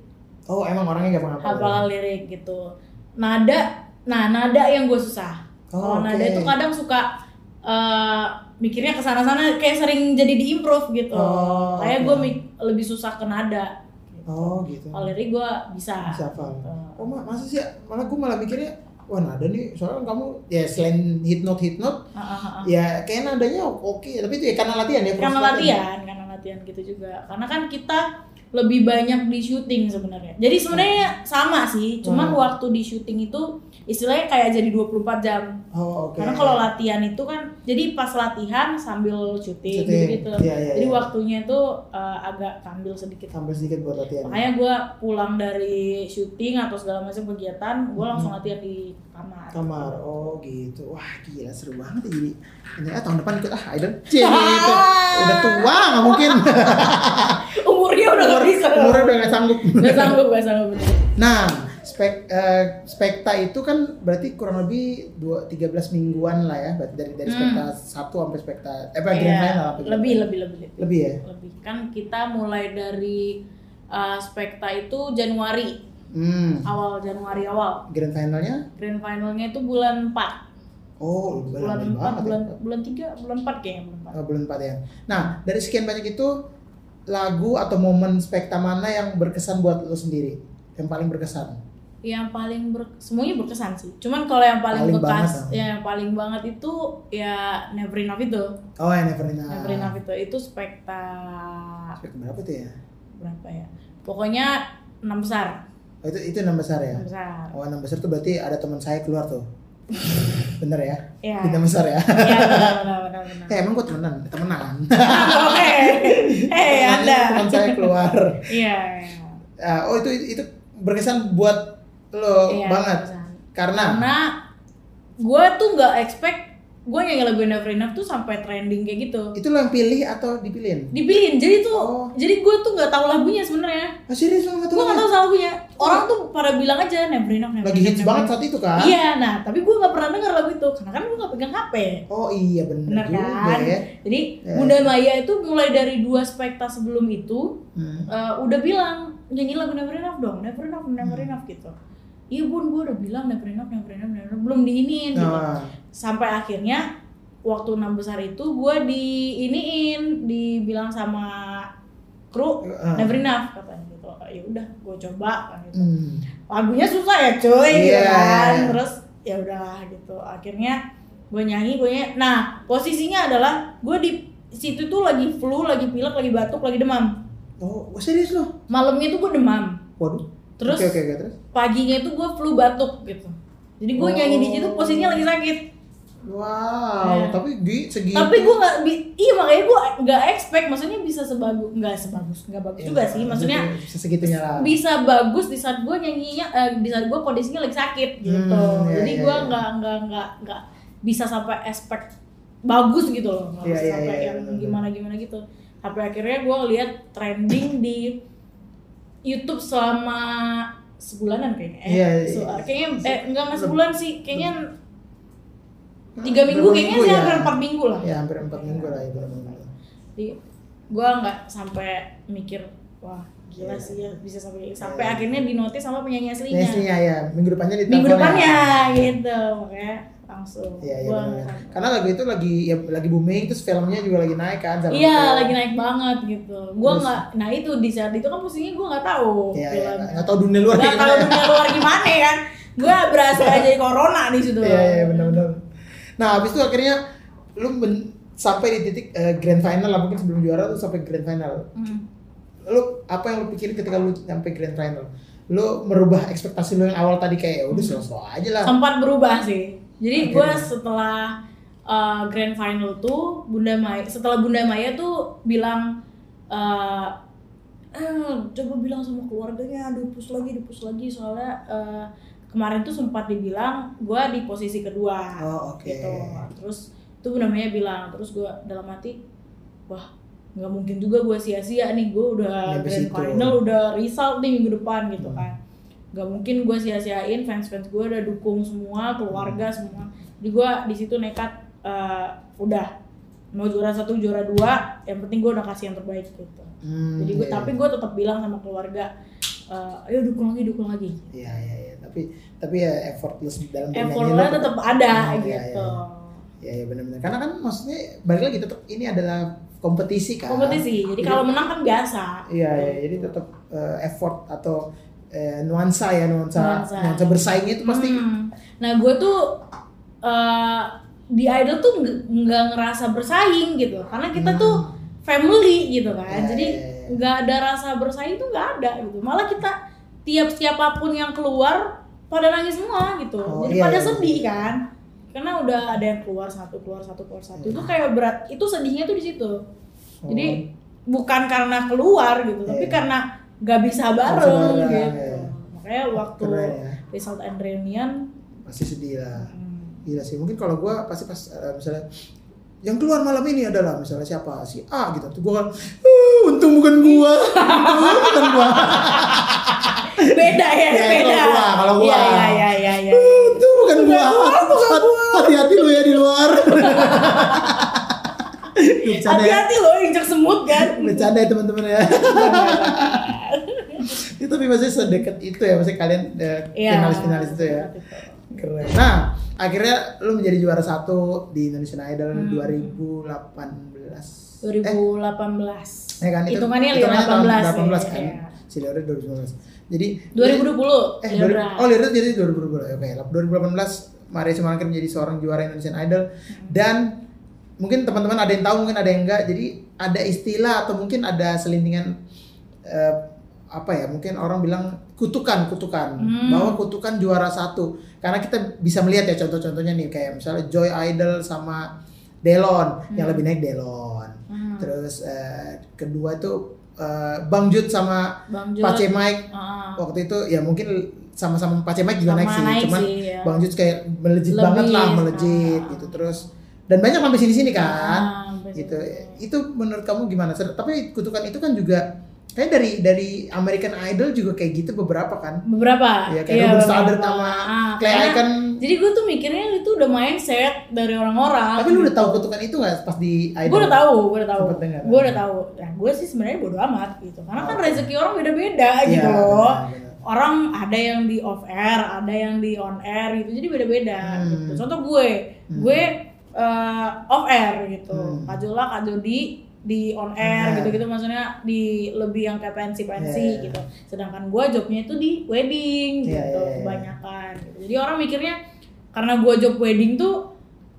Speaker 2: Oh, emang orangnya gampang apa?
Speaker 1: hafal lirik gitu nada nah nada yang gue susah
Speaker 2: Oh,
Speaker 1: kalau nada itu kan, kadang suka eh, mikirnya ke sana sana kayak sering jadi diimprove gitu
Speaker 2: Oh,
Speaker 1: kayak
Speaker 2: oke.
Speaker 1: gue lebih susah ke nada gitu.
Speaker 2: Oh, gitu.
Speaker 1: Kalau lirik gue bisa.
Speaker 2: Bisa hafal.
Speaker 1: Gitu.
Speaker 2: Oh, ma masa sih? Malah gue malah mikirnya, wah nada nih, soalnya kan kamu ya selain hit note hit note,
Speaker 1: Ah, ah, ah.
Speaker 2: ya kayaknya nadanya oke, tapi itu ya karena latihan ya.
Speaker 1: Karena
Speaker 2: proses
Speaker 1: latihan, karena latihan gitu juga. Karena kan kita lebih banyak di syuting sebenarnya. Jadi sebenarnya sama sih, cuman
Speaker 2: Hmm.
Speaker 1: waktu di syuting itu istilahnya kayak jadi 24 jam.
Speaker 2: Oh, oke.
Speaker 1: Karena kalau latihan itu kan jadi pas latihan sambil syuting
Speaker 2: Syuting.
Speaker 1: gitu.
Speaker 2: Iya, iya,
Speaker 1: Jadi
Speaker 2: iya.
Speaker 1: waktunya itu eh, agak kambil sedikit.
Speaker 2: sambil sedikit buat latihan.
Speaker 1: Makanya gue pulang dari syuting atau segala macam kegiatan, gue langsung
Speaker 2: Hmm.
Speaker 1: latihan di kamar.
Speaker 2: Kamar, oh gitu. Wah gila seru banget ya jadi. Ini ah, tahun depan ikut ah Idol. Cie, gitu. Udah tua nggak mungkin.
Speaker 1: Umurnya udah gak bisa.
Speaker 2: Umurnya udah nggak sanggup.
Speaker 1: Gak sanggup, gak sanggup.
Speaker 2: Nah, spek eh, spekta itu kan berarti kurang lebih dua 13 mingguan lah ya berarti dari dari spekta satu sampai spekta eh apa grand
Speaker 1: Hmm. Iya,
Speaker 2: final apa gitu.
Speaker 1: lebih, lebih, lebih, lebih.
Speaker 2: lebih ya
Speaker 1: Lebih. Kan kita mulai dari uh, spekta itu Januari,
Speaker 2: hmm
Speaker 1: awal Januari awal.
Speaker 2: grand finalnya
Speaker 1: Grand finalnya itu bulan 4.
Speaker 2: oh lebih
Speaker 1: Bulan
Speaker 2: lama
Speaker 1: 4,
Speaker 2: banget
Speaker 1: bulan
Speaker 2: ya.
Speaker 1: bulan 3, bulan 4 kayaknya, bulan 4.
Speaker 2: Oh, bulan empat ya nah dari sekian banyak itu lagu atau momen spekta mana yang berkesan buat lo sendiri yang paling berkesan
Speaker 1: yang paling ber, semuanya berkesan sih cuman kalau yang paling,
Speaker 2: Paling
Speaker 1: bekas
Speaker 2: banget,
Speaker 1: ya, yang paling banget itu ya never enough itu
Speaker 2: oh ya never enough
Speaker 1: never enough itu itu spekta
Speaker 2: spekta berapa tuh ya
Speaker 1: berapa ya pokoknya enam besar
Speaker 2: oh, itu itu enam besar ya
Speaker 1: enam besar
Speaker 2: oh enam besar tuh berarti ada teman saya keluar tuh bener ya
Speaker 1: ya
Speaker 2: enam besar ya
Speaker 1: ya benar benar benar
Speaker 2: Eh, emang gue temenan, temenan.
Speaker 1: oke eh
Speaker 2: Temenannya
Speaker 1: anda
Speaker 2: Teman saya keluar.
Speaker 1: iya
Speaker 2: Ah, oh itu itu berkesan buat lo
Speaker 1: iya,
Speaker 2: Oh, banget
Speaker 1: besar.
Speaker 2: karena
Speaker 1: karena gue tuh nggak expect gue nyanyi lagu never enough tuh sampai trending kayak gitu
Speaker 2: itu lo yang pilih atau dipilihin?
Speaker 1: dipilihin jadi tuh
Speaker 2: Oh.
Speaker 1: jadi gue tuh nggak tahu lagunya sebenarnya
Speaker 2: Ah serius lo nggak
Speaker 1: gue
Speaker 2: tahu?
Speaker 1: gak tau salah lagunya orang tuh pada bilang aja never enough never
Speaker 2: Lagi
Speaker 1: enough,
Speaker 2: hits
Speaker 1: never
Speaker 2: banget
Speaker 1: enough."
Speaker 2: saat itu kan?
Speaker 1: iya nah tapi gue gak pernah denger lagu itu karena kan gue gak pegang hp
Speaker 2: Oh iya bener,
Speaker 1: Bener
Speaker 2: juga
Speaker 1: kan?
Speaker 2: ya.
Speaker 1: jadi
Speaker 2: Ya.
Speaker 1: Bunda Maya itu mulai dari dua spekta sebelum itu
Speaker 2: Hmm.
Speaker 1: eh, udah bilang nyanyi lagu never enough dong never enough never
Speaker 2: Hmm.
Speaker 1: enough gitu iya bun gue udah bilang never enough never enough never enough belum diinin gitu
Speaker 2: Nah,
Speaker 1: sampai akhirnya waktu enam besar itu gue diiniin dibilang sama kru
Speaker 2: eh,
Speaker 1: never enough katanya gitu ya udah gue coba kan gitu
Speaker 2: hmm.
Speaker 1: lagunya susah ya cuy gitu
Speaker 2: Iya.
Speaker 1: kan terus ya udahlah gitu akhirnya gue nyanyi gue nyanyi nah posisinya adalah gue di situ tuh lagi flu lagi pilek lagi batuk lagi demam
Speaker 2: Oh, wah, serius lo?
Speaker 1: malamnya tuh gue demam
Speaker 2: Waduh.
Speaker 1: terus
Speaker 2: Oke oke oke, terus.
Speaker 1: paginya tuh gue flu batuk gitu jadi gue nyanyi di
Speaker 2: Oh.
Speaker 1: situ posisinya lagi sakit
Speaker 2: Wow,
Speaker 1: Iya.
Speaker 2: tapi di segi
Speaker 1: tapi gue nggak bi- iya makanya gue nggak expect maksudnya bisa sebagus nggak sebagus nggak bagus
Speaker 2: Iya,
Speaker 1: juga sih maksudnya
Speaker 2: sesegitunya lah.
Speaker 1: bisa bagus di saat gue nyanyinya eh, di saat gue kondisinya lagi sakit gitu
Speaker 2: Hmm, iya,
Speaker 1: jadi
Speaker 2: iya,
Speaker 1: gue
Speaker 2: iya.
Speaker 1: nggak nggak nggak nggak bisa sampai aspek bagus gitu loh nggak
Speaker 2: Iya,
Speaker 1: bisa
Speaker 2: iya,
Speaker 1: sampai
Speaker 2: iya,
Speaker 1: yang
Speaker 2: benar-benar.
Speaker 1: gimana gimana gitu sampai akhirnya gue lihat trending di YouTube selama sebulanan kayaknya eh,
Speaker 2: Iya, iya.
Speaker 1: se- kayaknya eh enggak nggak
Speaker 2: Leb-
Speaker 1: sebulan sih kayaknya tiga minggu
Speaker 2: Berapa
Speaker 1: kayaknya
Speaker 2: minggu
Speaker 1: sih
Speaker 2: ya?
Speaker 1: hampir empat minggu lah
Speaker 2: Ya hampir empat minggu lah ya bener minggu.
Speaker 1: jadi gue nggak sampai mikir wah gila
Speaker 2: Iya.
Speaker 1: sih ya bisa sampai sampai
Speaker 2: Iya.
Speaker 1: akhirnya dinotis sama penyanyi aslinya
Speaker 2: Tesnya ya, minggu depannya di ya.
Speaker 1: minggu depannya gitu makanya langsung
Speaker 2: Iya, iya
Speaker 1: gua
Speaker 2: benar.
Speaker 1: nggak sampai.
Speaker 2: Karena lagu itu lagi ya, lagi booming terus filmnya juga lagi naik kan sama
Speaker 1: iya
Speaker 2: film.
Speaker 1: lagi naik banget gitu gue
Speaker 2: Terus?
Speaker 1: nggak nah itu di saat itu kan posisinya gue nggak tahu
Speaker 2: Iya, iya.
Speaker 1: film.
Speaker 2: Enggak tahu dunia luar
Speaker 1: nggak
Speaker 2: kayak
Speaker 1: tahu
Speaker 2: gimana.
Speaker 1: dunia luar gimana kan gue berasa jadi corona di situ
Speaker 2: Iya, iya benar-benar. Nah, habis itu akhirnya lu men- sampai di titik eh, grand final lah mungkin sebelum juara tuh sampai grand final.
Speaker 1: Hmm.
Speaker 2: Lu apa yang lu pikirin ketika lu sampai grand final? Lu merubah ekspektasi lu yang awal tadi kayak "Ya
Speaker 1: Hmm.
Speaker 2: udah selesai aja lah.
Speaker 1: sempat berubah sih. Jadi gue
Speaker 2: Akhirnya.
Speaker 1: setelah uh, grand final tuh Bunda Maya, setelah Bunda Maya tuh bilang uh, "Eh, coba bilang sama keluarganya dipus lagi dipus lagi soalnya uh, kemarin tuh sempat dibilang gue di posisi kedua
Speaker 2: Oh, oke.
Speaker 1: gitu. Terus itu Bunda Maya bilang terus gue dalam hati wah nggak mungkin juga gue sia-sia nih gue udah
Speaker 2: Nyampe
Speaker 1: grand
Speaker 2: situ.
Speaker 1: final udah result nih minggu depan gitu
Speaker 2: Iya, Hmm.
Speaker 1: kan nggak mungkin gue sia-siain fans-fans gue udah dukung semua keluarga
Speaker 2: Hmm.
Speaker 1: semua jadi gue di situ nekat eh, udah mau juara satu juara dua yang penting gue udah kasih yang terbaik gitu
Speaker 2: Hmm,
Speaker 1: jadi gue
Speaker 2: iya,
Speaker 1: tapi
Speaker 2: iya.
Speaker 1: gue tetap bilang sama keluarga eh, ayo dukung lagi dukung lagi
Speaker 2: Iya, iya, iya. Tapi tapi ya effortless dalam bernyanyi lu
Speaker 1: effortnya tetap ada
Speaker 2: Hmm, iya,
Speaker 1: gitu
Speaker 2: iya. Iya, iya benar-benar. Karena kan maksudnya balik lagi tetap ini adalah kompetisi kan.
Speaker 1: kompetisi jadi kalau menang kan biasa
Speaker 2: Iya, iya. Jadi tetap eh, effort atau eh, nuansa ya nuansa nuansa,
Speaker 1: Nuansa.
Speaker 2: bersaingnya itu pasti.
Speaker 1: Hmm. nah gue tuh eh, di idol tuh nggak- nggak ngerasa bersaing gitu karena kita
Speaker 2: Hmm.
Speaker 1: tuh family gitu kan
Speaker 2: Iya,
Speaker 1: jadi
Speaker 2: iya, iya.
Speaker 1: nggak ada rasa bersaing tuh nggak ada gitu malah kita tiap siapapun yang keluar pada nangis semua gitu
Speaker 2: Oh,
Speaker 1: jadi
Speaker 2: iya,
Speaker 1: pada
Speaker 2: iya.
Speaker 1: sedih kan karena udah ada yang keluar satu keluar satu keluar satu
Speaker 2: Iya.
Speaker 1: itu kayak berat itu sedihnya tuh di situ
Speaker 2: Oh.
Speaker 1: jadi bukan karena keluar gitu tapi
Speaker 2: Iya.
Speaker 1: karena nggak bisa
Speaker 2: bareng,
Speaker 1: bareng gitu
Speaker 2: iya.
Speaker 1: makanya waktu
Speaker 2: Keren Ah. ya.
Speaker 1: result Andrenian
Speaker 2: Pasti sedih lah.
Speaker 1: hmm,
Speaker 2: Gila sih. Mungkin kalau gue pasti pas eh, misalnya yang keluar malam ini adalah misalnya siapa si A gitu. Tuh gue kan, "Uh, untung bukan gua, untung bukan gua.
Speaker 1: beda ya,
Speaker 2: Ya, itu
Speaker 1: beda.
Speaker 2: kalau gua, kalau gua.
Speaker 1: Iya, iya, iya, iya. iya.
Speaker 2: Itu bukan gua. Hati-hati lu ya di luar. Lu Bercanda ya.
Speaker 1: Hati-hati loh injak semut kan.
Speaker 2: Bercanda ya teman-teman ya. itu tapi maksudnya sedekat itu ya maksudnya kalian eh,
Speaker 1: Iya.
Speaker 2: finalis-finalis itu ya. Keren. Nah, akhirnya lu menjadi juara satu di Indonesian Idol
Speaker 1: Hmm.
Speaker 2: 2018. Eh,
Speaker 1: 2018.
Speaker 2: ya kan? Itu,
Speaker 1: Hitungannya
Speaker 2: hitungannya tahun
Speaker 1: 2018.
Speaker 2: 2018 kan.
Speaker 1: Iya.
Speaker 2: Si Leora 2019. Jadi
Speaker 1: 2020.
Speaker 2: Eh,
Speaker 1: Libra.
Speaker 2: dari- oh Lirda jadi 2020 oke. 2018 Maria Sumangkir menjadi seorang juara Indonesian Idol dan mungkin teman-teman ada yang tahu mungkin ada yang enggak. Jadi ada istilah atau mungkin ada selintingan eh, apa ya? Mungkin orang bilang kutukan kutukan
Speaker 1: Hmm.
Speaker 2: bahwa kutukan juara satu karena kita bisa melihat ya contoh-contohnya nih kayak misalnya Joy Idol sama Delon yang lebih naik Delon.
Speaker 1: Hmm.
Speaker 2: Terus eh, kedua itu eh, Bang Jud sama
Speaker 1: Bang Jul.
Speaker 2: Pace Mike
Speaker 1: Ah,
Speaker 2: waktu itu ya mungkin sama-sama Pak Cemek juga
Speaker 1: sama
Speaker 2: naik sih cuman
Speaker 1: sih, ya.
Speaker 2: Bang Jus kayak melejit
Speaker 1: Lebih,
Speaker 2: banget lah melejit
Speaker 1: ah.
Speaker 2: gitu terus dan banyak sampai sini-sini kan
Speaker 1: Ah, betul.
Speaker 2: gitu itu menurut kamu gimana Ser- tapi kutukan itu kan juga kayak dari dari American Idol juga kayak gitu beberapa kan
Speaker 1: Beberapa.
Speaker 2: Iya, kayak Ruben Studdard
Speaker 1: beberapa.
Speaker 2: sama
Speaker 1: Ah,
Speaker 2: kayak
Speaker 1: karena-
Speaker 2: kan
Speaker 1: Jadi gue tuh mikirnya itu udah mindset dari orang-orang.
Speaker 2: tapi lu udah tahu kutukan itu nggak pas di Idol
Speaker 1: gue udah tahu, gue udah tahu,
Speaker 2: Sempet dengar.
Speaker 1: gue udah tahu. Nah, gue sih sebenarnya bodo amat gitu, karena kan
Speaker 2: Oh.
Speaker 1: rezeki orang beda-beda gitu
Speaker 2: Iya,
Speaker 1: loh.
Speaker 2: benar, benar.
Speaker 1: orang ada yang di off air, ada yang di on air gitu. Jadi beda-beda
Speaker 2: Hmm.
Speaker 1: gitu. Contoh gue,
Speaker 2: Hmm.
Speaker 1: gue eh, off air gitu.
Speaker 2: Hmm.
Speaker 1: Kak Zola, Kak Jody di on
Speaker 2: On
Speaker 1: air
Speaker 2: air.
Speaker 1: gitu-gitu maksudnya di lebih yang kayak pensi-pensi
Speaker 2: Yeah.
Speaker 1: gitu. Sedangkan gue jobnya itu di wedding
Speaker 2: Yeah,
Speaker 1: gitu
Speaker 2: yeah, yeah.
Speaker 1: kebanyakan. Gitu. Jadi orang mikirnya karena gue job wedding tuh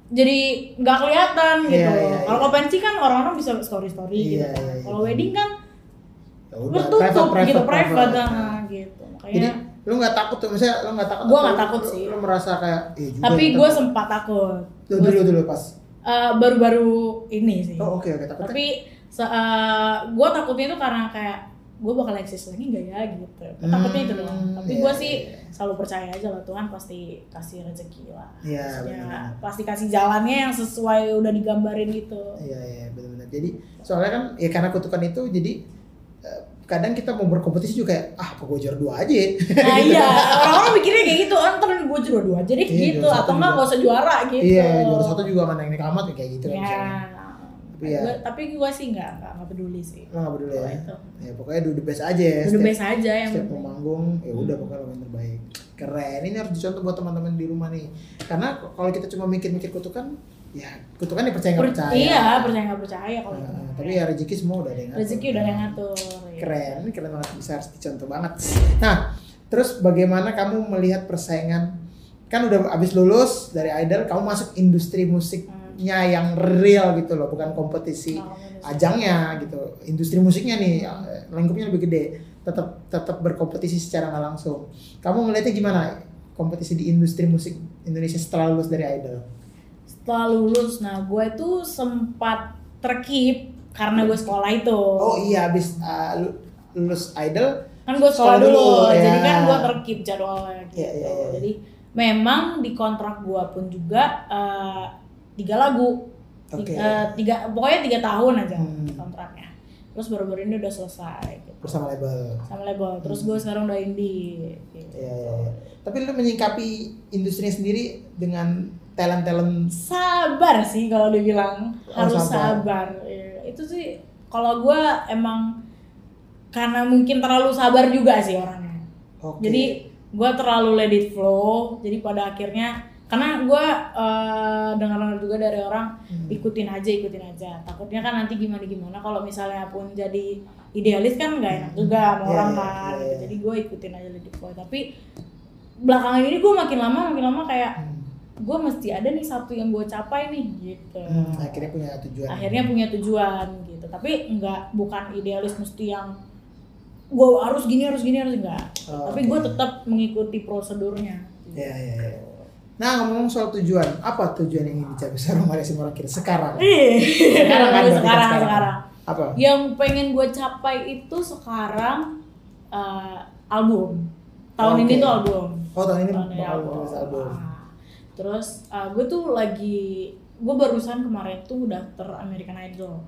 Speaker 1: jadi nggak kelihatan gitu.
Speaker 2: Yeah, yeah,
Speaker 1: Kalau
Speaker 2: yeah.
Speaker 1: ke pensi kan orang-orang bisa story-story gitu.
Speaker 2: Yeah, yeah, yeah.
Speaker 1: Kalau wedding kan
Speaker 2: Ya udah,
Speaker 1: tertutup gitu, private,
Speaker 2: Nah,
Speaker 1: nah, gitu. Makanya
Speaker 2: jadi lu nggak takut tuh misalnya lu nggak takut
Speaker 1: Gua
Speaker 2: atau
Speaker 1: nggak takut
Speaker 2: lu-
Speaker 1: sih.
Speaker 2: lu merasa kayak eh, juga
Speaker 1: tapi
Speaker 2: gitu.
Speaker 1: gue sempat takut
Speaker 2: Tuh, dulu dulu pas
Speaker 1: Eh, baru-baru ini sih
Speaker 2: oh oke oke takut
Speaker 1: tapi gue takutnya itu karena kayak gue bakal eksis lagi nggak ya gitu takutnya itu doang
Speaker 2: Hmm,
Speaker 1: tapi
Speaker 2: iya,
Speaker 1: gue sih
Speaker 2: iya, iya.
Speaker 1: selalu percaya aja lah Tuhan pasti kasih rezeki lah
Speaker 2: Iya,
Speaker 1: Maksudnya,
Speaker 2: benar.
Speaker 1: pasti kasih jalannya yang sesuai udah digambarin gitu
Speaker 2: Iya iya benar-benar. Jadi soalnya kan ya karena kutukan itu jadi eh, kadang kita mau berkompetisi juga kayak ah apa gue juara dua aja ya?"
Speaker 1: nah
Speaker 2: Gitu.
Speaker 1: iya orang-orang mikirnya kayak gitu ah ntar gue juara dua aja deh
Speaker 2: Iya,
Speaker 1: gitu
Speaker 2: juara satu
Speaker 1: atau enggak
Speaker 2: juga.
Speaker 1: gak usah juara gitu
Speaker 2: Iya juara satu juga nggak naik naik amat ya, kayak gitu kan
Speaker 1: ya
Speaker 2: misalnya. Tapi ya.
Speaker 1: Gua- tapi gue sih nggak nggak nggak peduli sih
Speaker 2: Lo nggak peduli ya.
Speaker 1: Kalau itu.
Speaker 2: Ya pokoknya do the best aja ya.
Speaker 1: udah
Speaker 2: setiap-
Speaker 1: best aja yang
Speaker 2: setiap
Speaker 1: penting.
Speaker 2: mau manggung ya
Speaker 1: Hmm.
Speaker 2: udah pokoknya lo yang terbaik keren ini harus dicontoh buat teman-teman di rumah nih karena kalau kita cuma mikir-mikir kutukan ya kutukan ya percaya nggak
Speaker 1: Per-
Speaker 2: percaya
Speaker 1: Iya, percaya nggak percaya kalau itu.
Speaker 2: Nah, tapi ya rezeki semua udah ada yang ngatur.
Speaker 1: rezeki udah ada yang ngatur. ya.
Speaker 2: keren ini keren banget bisa harus dicontoh banget nah terus bagaimana kamu melihat persaingan kan udah abis lulus dari idol kamu masuk industri
Speaker 1: Hmm,
Speaker 2: musiknya yang real gitu loh bukan kompetisi
Speaker 1: Kalau menurut saya.
Speaker 2: ajangnya gitu industri musiknya nih ya, lingkupnya lebih gede tetap tetap berkompetisi secara nggak langsung kamu melihatnya gimana kompetisi di industri musik Indonesia setelah lulus dari idol
Speaker 1: Setelah lulus, nah gue tuh sempat terkip karena gue sekolah itu.
Speaker 2: oh iya abis uh, lu- lulus idol
Speaker 1: Kan gue sekolah
Speaker 2: Sekolah
Speaker 1: dulu,
Speaker 2: dulu, ya.
Speaker 1: jadi kan gue terkip jadwalnya gitu.
Speaker 2: Iya, iya, iya.
Speaker 1: Jadi memang di kontrak gue pun juga eh, tiga lagu,
Speaker 2: Oke.
Speaker 1: Tiga- eh, tiga pokoknya tiga tahun aja
Speaker 2: Hmm.
Speaker 1: kontraknya. Terus baru-baru ini udah selesai gitu.
Speaker 2: bersama label
Speaker 1: sama label. Terus gue sekarang udah indie. Gitu.
Speaker 2: Hmm. Iya, iya, iya. Tapi lu menyingkapi industrinya sendiri dengan talent-talent
Speaker 1: sabar sih kalau dibilang
Speaker 2: Oh,
Speaker 1: harus
Speaker 2: sabar.
Speaker 1: sabar, Iya. itu sih kalau gue emang karena mungkin terlalu sabar juga sih orangnya
Speaker 2: Oke.
Speaker 1: jadi gue terlalu let it flow jadi pada akhirnya karena gue dengar-dengar juga dari orang
Speaker 2: Hmm.
Speaker 1: ikutin aja ikutin aja takutnya kan nanti gimana gimana kalau misalnya pun jadi idealis kan nggak enak juga sama
Speaker 2: Iya,
Speaker 1: orang
Speaker 2: iya,
Speaker 1: kan
Speaker 2: iya,
Speaker 1: gitu.
Speaker 2: iya.
Speaker 1: jadi gue ikutin aja let it flow tapi belakangan ini gue makin lama makin lama kayak
Speaker 2: Hmm.
Speaker 1: gue mesti ada nih satu yang gue capai nih gitu
Speaker 2: Hmm, akhirnya punya tujuan.
Speaker 1: akhirnya punya tujuan gitu tapi nggak bukan idealis mesti yang gue harus gini harus gini harus enggak
Speaker 2: Oh,
Speaker 1: tapi
Speaker 2: oke.
Speaker 1: gue tetap mengikuti prosedurnya
Speaker 2: Iya, iya, iya. Nah, ngomong soal tujuan, apa tujuan yang ingin dicapai seorang Maria Simorangkir sekarang?
Speaker 1: sekarang
Speaker 2: kan, berarti kan
Speaker 1: sekarang
Speaker 2: sekarang.
Speaker 1: sekarang
Speaker 2: Apa?
Speaker 1: yang pengen gue capai itu sekarang eh, album tahun ini
Speaker 2: Oke.
Speaker 1: tuh album
Speaker 2: Oh, tahun ini
Speaker 1: Tahun ini
Speaker 2: bakal rilis album.
Speaker 1: Ah. terus eh, gue tuh lagi gue barusan kemarin tuh daftar American Idol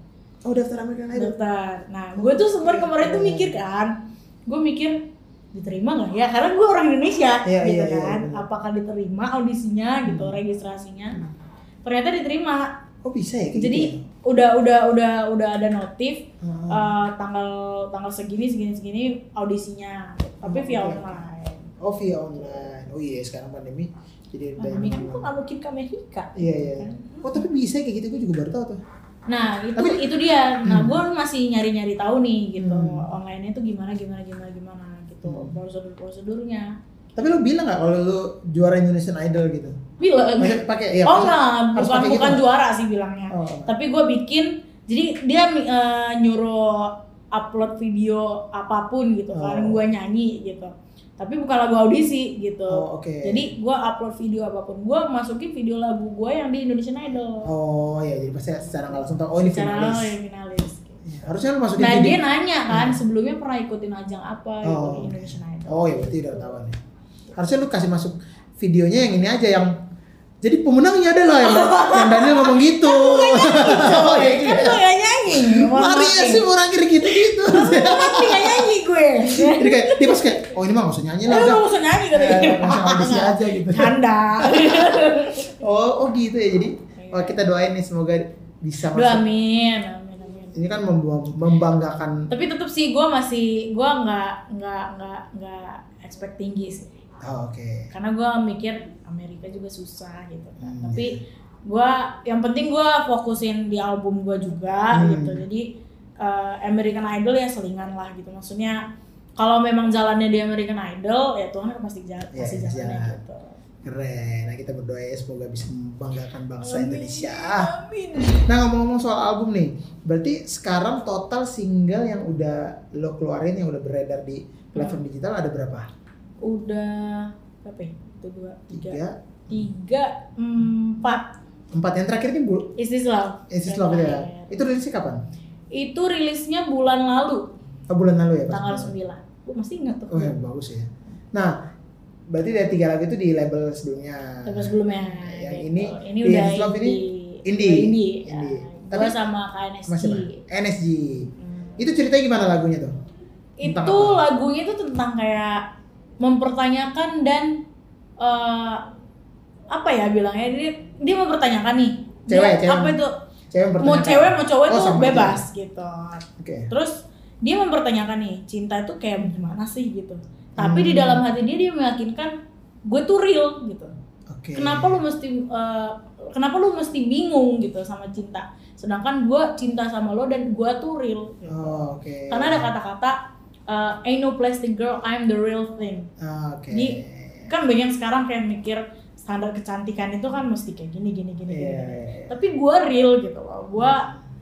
Speaker 2: Oh, daftar American Idol.
Speaker 1: daftar. Nah, gue tuh sempat kemarin tuh mikir kan, gue mikir diterima nggak ya karena gue orang Indonesia
Speaker 2: Iya,
Speaker 1: gitu
Speaker 2: iya, iya, Hmm.
Speaker 1: kan
Speaker 2: benar.
Speaker 1: apakah diterima audisinya gitu registrasinya ternyata diterima
Speaker 2: Oh bisa ya? kayak
Speaker 1: jadi
Speaker 2: gitu
Speaker 1: udah udah udah udah ada notif
Speaker 2: ya? Ah.
Speaker 1: eh, tanggal tanggal segini segini segini audisinya tapi
Speaker 2: Oh,
Speaker 1: via
Speaker 2: oke.
Speaker 1: online
Speaker 2: Oh via online. Oh iya sekarang pandemi jadi ada yang
Speaker 1: pandemi kan kok kan?
Speaker 2: online.
Speaker 1: nggak mungkin ke Amerika
Speaker 2: Iya iya. Oh tapi bisa kayak gitu gue juga baru tahu tuh.
Speaker 1: nah itu
Speaker 2: Tapi-
Speaker 1: itu dia nah
Speaker 2: Hmm.
Speaker 1: gue masih nyari nyari tahu nih gitu
Speaker 2: Hmm.
Speaker 1: online itu gimana gimana gimana gimana gitu
Speaker 2: Hmm.
Speaker 1: prosedur prosedurnya
Speaker 2: Tapi lu bilang nggak kalau lu juara Indonesian Idol gitu?
Speaker 1: bilang
Speaker 2: Maksudnya pakai ya?
Speaker 1: oh
Speaker 2: maksudnya-
Speaker 1: enggak,
Speaker 2: harus
Speaker 1: bukan
Speaker 2: pakai gitu
Speaker 1: bukan
Speaker 2: nggak?
Speaker 1: juara sih bilangnya.
Speaker 2: Oh.
Speaker 1: Tapi gue bikin, jadi dia eh, nyuruh upload video apapun gitu
Speaker 2: Oh.
Speaker 1: kan, gue nyanyi gitu. Tapi bukan lagu audisi gitu.
Speaker 2: Oh, oke.
Speaker 1: Jadi gue upload video apapun, gue masukin video lagu gue yang di Indonesian Idol.
Speaker 2: Oh iya jadi pasti secara nggak langsung tahu. Oh ini
Speaker 1: Secara
Speaker 2: finalis.
Speaker 1: lo yang finalis. gitu.
Speaker 2: Iya, Harusnya lu masukin
Speaker 1: Nah
Speaker 2: video.
Speaker 1: dia nanya kan, sebelumnya pernah ikutin ajang apa gitu
Speaker 2: Oh.
Speaker 1: di Indonesian Idol.
Speaker 2: Oh ya berarti udah ketahuan ya. Harusnya lu kasih masuk videonya yang ini aja yang jadi pemenangnya adalah yang, yang Daniel ngomong gitu. Oh,
Speaker 1: Kan
Speaker 2: iya,
Speaker 1: gitu.
Speaker 2: iya.
Speaker 1: gue gak nyanyi.
Speaker 2: Mari ya sih Iya, orang kira gitu-gitu.
Speaker 1: Tapi gak Kan nyanyi gue.
Speaker 2: Jadi kayak dia pas kayak oh ini mah gak usah nyanyi lah
Speaker 1: Eh,
Speaker 2: udah.
Speaker 1: lu usah nyanyi kata
Speaker 2: Eh,
Speaker 1: dia.
Speaker 2: langsung audisi aja gitu.
Speaker 1: Canda.
Speaker 2: Oh, oh gitu ya. Jadi oh, kita doain nih semoga bisa
Speaker 1: Aduh
Speaker 2: masuk.
Speaker 1: amin, amin, amin.
Speaker 2: Ini kan membu- membanggakan.
Speaker 1: Tapi tetap sih gue masih gue nggak nggak nggak nggak expect tinggi sih.
Speaker 2: Oh, Oke.
Speaker 1: Karena gue mikir Amerika juga susah gitu kan.
Speaker 2: Hmm.
Speaker 1: Tapi gue yang penting gue fokusin di album gue juga
Speaker 2: Hmm.
Speaker 1: gitu. Jadi eh, American Idol ya selingan lah gitu. Maksudnya kalau memang jalannya di American Idol ya Tuhan kan pasti jalan,
Speaker 2: Ya,
Speaker 1: pasti jalannya
Speaker 2: jalan.
Speaker 1: gitu.
Speaker 2: Keren. Nah, kita berdoa ya semoga bisa membanggakan bangsa
Speaker 1: Amin.
Speaker 2: Indonesia.
Speaker 1: Amin.
Speaker 2: Nah, ngomong-ngomong soal album nih. Berarti sekarang total single yang udah lo keluarin yang udah beredar di
Speaker 1: Hmm.
Speaker 2: platform digital ada berapa?
Speaker 1: Udah berapa ya? Satu, dua, tiga,
Speaker 2: Tiga,
Speaker 1: tiga, empat.
Speaker 2: empat. Yang terakhir kan Bu
Speaker 1: Is this love?
Speaker 2: Is This Love
Speaker 1: Terakhir.
Speaker 2: ya. Itu rilisnya kapan?
Speaker 1: Itu rilisnya bulan lalu,
Speaker 2: Oh, bulan lalu ya? pas
Speaker 1: tanggal
Speaker 2: bulan.
Speaker 1: 9. Gue masih ingat tuh.
Speaker 2: Oh ya, bagus ya. Nah, berarti dari tiga lagu itu di label sebelumnya.
Speaker 1: Tapi sebelumnya.
Speaker 2: Yang
Speaker 1: gitu.
Speaker 2: ini,
Speaker 1: ini
Speaker 2: di
Speaker 1: udah
Speaker 2: Is This Love ini
Speaker 1: indie.
Speaker 2: indie.
Speaker 1: Udah indie.
Speaker 2: Indie.
Speaker 1: Tapi
Speaker 2: Tapi-
Speaker 1: sama KNSG.
Speaker 2: Sama siapa? NSG.
Speaker 1: Hmm.
Speaker 2: Itu ceritanya gimana lagunya tuh? Tentang
Speaker 1: Itu lagunya itu tentang kayak mempertanyakan dan eh, apa ya bilangnya dia dia mempertanyakan nih. Dia-
Speaker 2: Cewek, cewek.
Speaker 1: Apa itu?
Speaker 2: Cewek yang
Speaker 1: Mau
Speaker 2: pertanyaan.
Speaker 1: cewek mau cowok
Speaker 2: Oh,
Speaker 1: itu
Speaker 2: sama
Speaker 1: bebas gitu.
Speaker 2: Oke.
Speaker 1: Terus dia mempertanyakan nih, cinta itu kayak gimana sih gitu. Tapi di
Speaker 2: Hmm.
Speaker 1: dalam hati dia dia meyakinkan gue tuh real gitu.
Speaker 2: Oke.
Speaker 1: Kenapa lu mesti eh, kenapa lu mesti bingung gitu sama cinta? Sedangkan gue cinta sama lo dan gue tuh real. gitu.
Speaker 2: Oh, oke.
Speaker 1: Karena ada kata-kata eh, ain't no plastic girl, I'm the real thing.
Speaker 2: Ah, Oke.
Speaker 1: Jadi, Kan banyak yang sekarang kayak mikir standar kecantikan itu kan mesti kayak gini gini gini
Speaker 2: Iya,
Speaker 1: gini.
Speaker 2: iya, iya.
Speaker 1: Tapi gue real gitu loh. Gue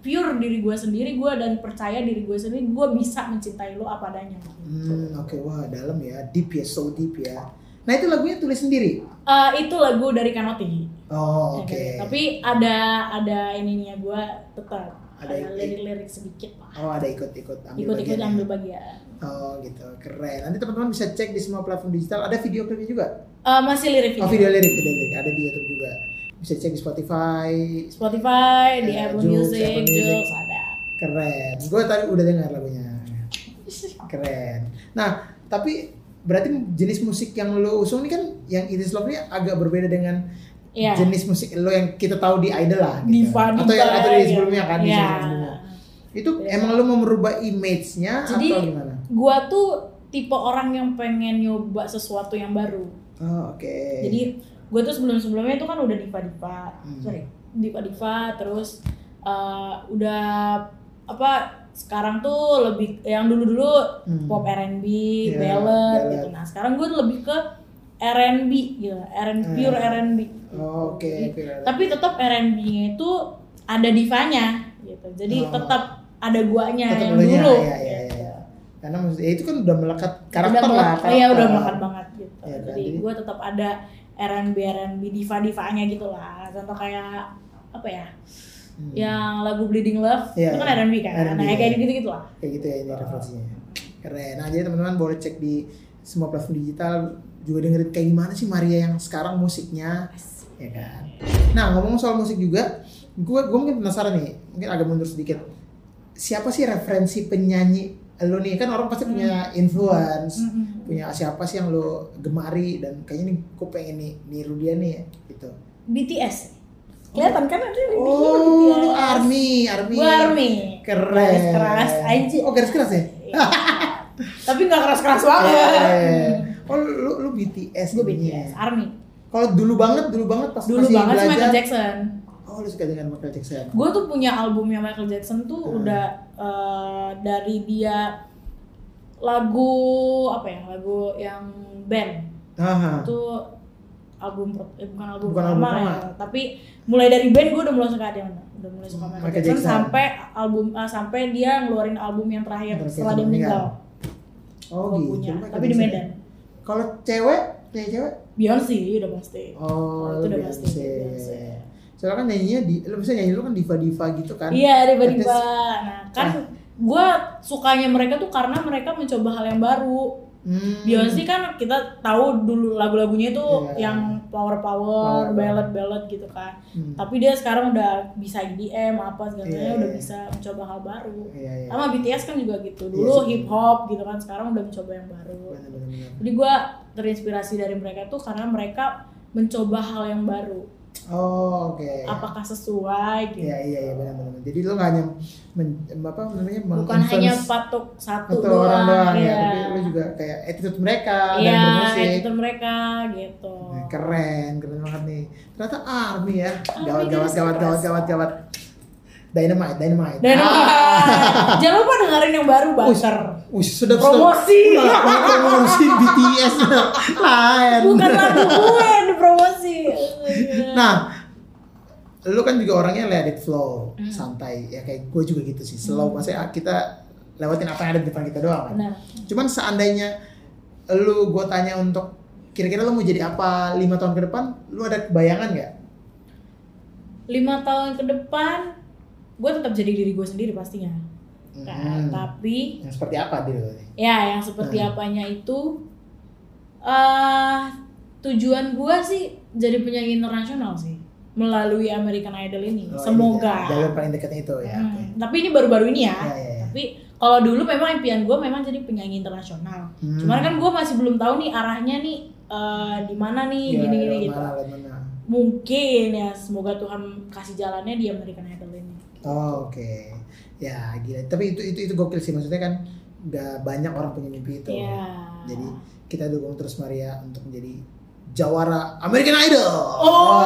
Speaker 1: pure diri gue sendiri gue dan percaya diri gue sendiri gue bisa mencintai lo apa adanya. gitu.
Speaker 2: Hmm, oke wah dalam ya, deep ya, so deep ya. Nah itu lagunya tulis sendiri.
Speaker 1: Eh, itu lagu dari Kanoti.
Speaker 2: Oh oke.
Speaker 1: Iya, Tapi ada ada ininya gue tetap
Speaker 2: Ada
Speaker 1: ada,
Speaker 2: i-
Speaker 1: lirik-lirik sedikit lah.
Speaker 2: Oh ada ikut-ikut ambil
Speaker 1: Ikut-ikut
Speaker 2: bagian ya?
Speaker 1: ambil bagian.
Speaker 2: Oh gitu keren. Nanti teman-teman bisa cek di semua platform digital. Ada video klipnya juga.
Speaker 1: Eh, masih lirik
Speaker 2: Oh
Speaker 1: video.
Speaker 2: video lirik, video lirik ada di YouTube juga. Bisa cek di Spotify.
Speaker 1: Spotify, di
Speaker 2: Eh,
Speaker 1: Apple
Speaker 2: Joox,
Speaker 1: Music,
Speaker 2: Apple Music.
Speaker 1: Joox ada.
Speaker 2: Keren. Gue tadi udah dengar lagunya. Keren. Nah tapi berarti jenis musik yang lo usung ini kan yang It Is Love ini agak berbeda dengan
Speaker 1: Iya.
Speaker 2: jenis musik lo yang kita tahu di idol lah gitu.
Speaker 1: Diva,
Speaker 2: atau yang
Speaker 1: diva,
Speaker 2: atau di
Speaker 1: iya.
Speaker 2: sebelumnya kan di
Speaker 1: Iya.
Speaker 2: sebelumnya, sebelumnya. itu
Speaker 1: Iya.
Speaker 2: emang lo mau merubah image-nya
Speaker 1: Jadi-
Speaker 2: atau gimana?
Speaker 1: Gua tuh tipe orang yang pengen nyoba sesuatu yang baru.
Speaker 2: Oh, oke.
Speaker 1: Jadi gue tuh sebelum-sebelumnya itu kan udah diva-diva,
Speaker 2: Hmm.
Speaker 1: sorry, diva-diva, terus eh, udah apa? Sekarang tuh lebih yang dulu-dulu
Speaker 2: Hmm.
Speaker 1: pop R&B,
Speaker 2: Iya,
Speaker 1: ballad
Speaker 2: ballad.
Speaker 1: gitu. Nah sekarang gue lebih ke R&B gitu, R&B pure
Speaker 2: Hmm.
Speaker 1: R&B.
Speaker 2: Oh, oke.
Speaker 1: Jadi,
Speaker 2: Pure R&B.
Speaker 1: Tapi tetap R&B-nya itu ada divanya gitu. Jadi
Speaker 2: Oh.
Speaker 1: tetap ada guanya
Speaker 2: Tetap
Speaker 1: yang
Speaker 2: elunya,
Speaker 1: dulu.
Speaker 2: iya, iya,
Speaker 1: gitu.
Speaker 2: iya. Karena maksud- ya itu kan udah melekat karakter
Speaker 1: udah
Speaker 2: lah.
Speaker 1: melekat- Iya
Speaker 2: karakter.
Speaker 1: udah melekat banget gitu.
Speaker 2: Iya, kan?
Speaker 1: Jadi
Speaker 2: Jadi-
Speaker 1: gue tetap ada R&B R&B diva-divanya gitu lah. Contoh kayak apa ya?
Speaker 2: Hmm.
Speaker 1: Yang lagu Bleeding Love
Speaker 2: Iya,
Speaker 1: itu kan
Speaker 2: iya.
Speaker 1: R&B kan.
Speaker 2: R&B,
Speaker 1: nah
Speaker 2: iya.
Speaker 1: kayak gitu-gitu lah.
Speaker 2: Kayak gitu ya ini referensinya. Keren. Nah, jadi teman-teman boleh cek di semua platform digital juga dengerin kayak gimana sih Maria yang sekarang musiknya ya kan. Nah, ngomong soal musik juga, gue gue mungkin penasaran nih, mungkin agak mundur sedikit. Siapa sih referensi penyanyi lu nih kan orang pasti
Speaker 1: Hmm.
Speaker 2: punya influence
Speaker 1: Mm-mm.
Speaker 2: punya siapa sih yang lu gemari dan kayaknya nih gue pengen nih niru dia nih gitu
Speaker 1: BTS kelihatan kan ada di
Speaker 2: oh lu
Speaker 1: BTS.
Speaker 2: army army
Speaker 1: Gua Army
Speaker 2: keren
Speaker 1: Garis keras aja
Speaker 2: oh garis keras ya
Speaker 1: Iya. tapi nggak keras keras banget
Speaker 2: Iya, Keren. oh lu lu, lu
Speaker 1: gue
Speaker 2: BTS jadinya.
Speaker 1: BTS Army
Speaker 2: kalau dulu banget dulu banget Iya. pas
Speaker 1: dulu
Speaker 2: masih
Speaker 1: banget sih
Speaker 2: belajar
Speaker 1: Michael Jackson
Speaker 2: oh lu suka dengan Michael Jackson
Speaker 1: gue tuh punya albumnya Michael Jackson tuh
Speaker 2: Hmm.
Speaker 1: udah eh, dari dia lagu apa ya lagu yang band
Speaker 2: Aha.
Speaker 1: itu album per- eh, bukan album
Speaker 2: Bukan album
Speaker 1: pertama
Speaker 2: pertama. Hmm.
Speaker 1: ya tapi mulai dari band gue udah mulai suka dia udah mulai suka Michael,
Speaker 2: Michael
Speaker 1: Jackson,
Speaker 2: Jackson.
Speaker 1: sampai album eh, sampai dia ngeluarin album yang terakhir
Speaker 2: Michael
Speaker 1: Iya, setelah
Speaker 2: Jackson
Speaker 1: dia meninggal
Speaker 2: oh
Speaker 1: Gua
Speaker 2: gitu
Speaker 1: punya
Speaker 2: Michael
Speaker 1: tapi di
Speaker 2: Jackson.
Speaker 1: Medan
Speaker 2: kalau cewek cewek cewek
Speaker 1: Beyonce udah pasti
Speaker 2: oh
Speaker 1: itu
Speaker 2: lu
Speaker 1: udah pasti
Speaker 2: Beyonce
Speaker 1: Beyonce.
Speaker 2: soalnya kan nyanyinya di lu bisa nyanyi lu kan diva diva gitu kan
Speaker 1: Iya, tiba-tiba.
Speaker 2: Artis. Ah.
Speaker 1: Nah, kan gue sukanya mereka tuh karena mereka mencoba hal yang baru.
Speaker 2: Hmm.
Speaker 1: Beyonce kan kita tahu dulu lagu-lagunya itu
Speaker 2: Iya.
Speaker 1: yang power power,
Speaker 2: Power.
Speaker 1: ballad ballad gitu kan.
Speaker 2: Hmm.
Speaker 1: Tapi dia sekarang udah bisa EDM apa segala
Speaker 2: Iya,
Speaker 1: macamnya,
Speaker 2: iya.
Speaker 1: udah bisa mencoba hal baru.
Speaker 2: iya iya
Speaker 1: Sama BTS kan juga gitu.
Speaker 2: Iya
Speaker 1: Dulu
Speaker 2: sih. Iya.
Speaker 1: hip hop gitu kan, sekarang udah mencoba yang baru.
Speaker 2: benar benar benar
Speaker 1: Jadi gue terinspirasi dari mereka tuh karena mereka mencoba hal yang baru.
Speaker 2: oh oke
Speaker 1: Apakah sesuai gitu.
Speaker 2: iya iya iya benar benar benar. jadi lu nggak hanya men- apa namanya
Speaker 1: Bukan hanya
Speaker 2: menginfluence
Speaker 1: patok satu
Speaker 2: satu
Speaker 1: doang,
Speaker 2: orang doang ya.
Speaker 1: iya.
Speaker 2: tapi lu juga kayak attitude mereka dan
Speaker 1: Iya,
Speaker 2: bermusik
Speaker 1: itu mereka gitu.
Speaker 2: Nah, keren keren banget nih ternyata army ya gawat
Speaker 1: Army
Speaker 2: gawat
Speaker 1: garis
Speaker 2: gawat gawat
Speaker 1: keras.
Speaker 2: gawat gawat dynamite dynamite
Speaker 1: Dan
Speaker 2: Ah.
Speaker 1: jangan lupa dengerin yang baru Buster.
Speaker 2: Wih, sudah
Speaker 1: Promosi.
Speaker 2: sudah Wah, promosi BTS lain
Speaker 1: Bukan lagu gue yang dipromosi.
Speaker 2: nah lu kan juga orangnya let it flow
Speaker 1: Hmm.
Speaker 2: santai ya kayak gue juga gitu sih slow maksudnya kita lewatin apa yang ada di depan kita doang kan
Speaker 1: Benar.
Speaker 2: cuman seandainya lu gue tanya untuk kira-kira lu mau jadi apa lima tahun ke depan lu ada bayangan nggak
Speaker 1: Lima tahun ke depan gue tetap jadi diri gue sendiri pastinya. Nah,
Speaker 2: Hmm.
Speaker 1: tapi
Speaker 2: yang seperti apa diri lu nih?
Speaker 1: ya yang seperti
Speaker 2: Hmm.
Speaker 1: apanya itu eh tujuan gue sih jadi penyanyi internasional sih melalui American Idol ini.
Speaker 2: Oh,
Speaker 1: Semoga.
Speaker 2: ini jalur paling dekatnya itu ya
Speaker 1: Hmm,
Speaker 2: oke.
Speaker 1: Tapi ini baru-baru ini ya.
Speaker 2: Ya, ya, ya.
Speaker 1: Tapi kalau dulu memang impian gue memang jadi penyanyi internasional.
Speaker 2: Hmm.
Speaker 1: Cuman kan gue masih belum tahu nih arahnya nih eh, di mana nih
Speaker 2: Ya,
Speaker 1: gini-gini
Speaker 2: lewat
Speaker 1: gitu.
Speaker 2: mana, lewat mana.
Speaker 1: Mungkin ya semoga Tuhan kasih jalannya di American Idol ini.
Speaker 2: Oh, oke ya gila tapi itu itu itu gokil sih maksudnya kan nggak banyak orang punya mimpi itu
Speaker 1: Iya.
Speaker 2: jadi kita dukung terus Maria untuk menjadi jawara American Idol
Speaker 1: Oh,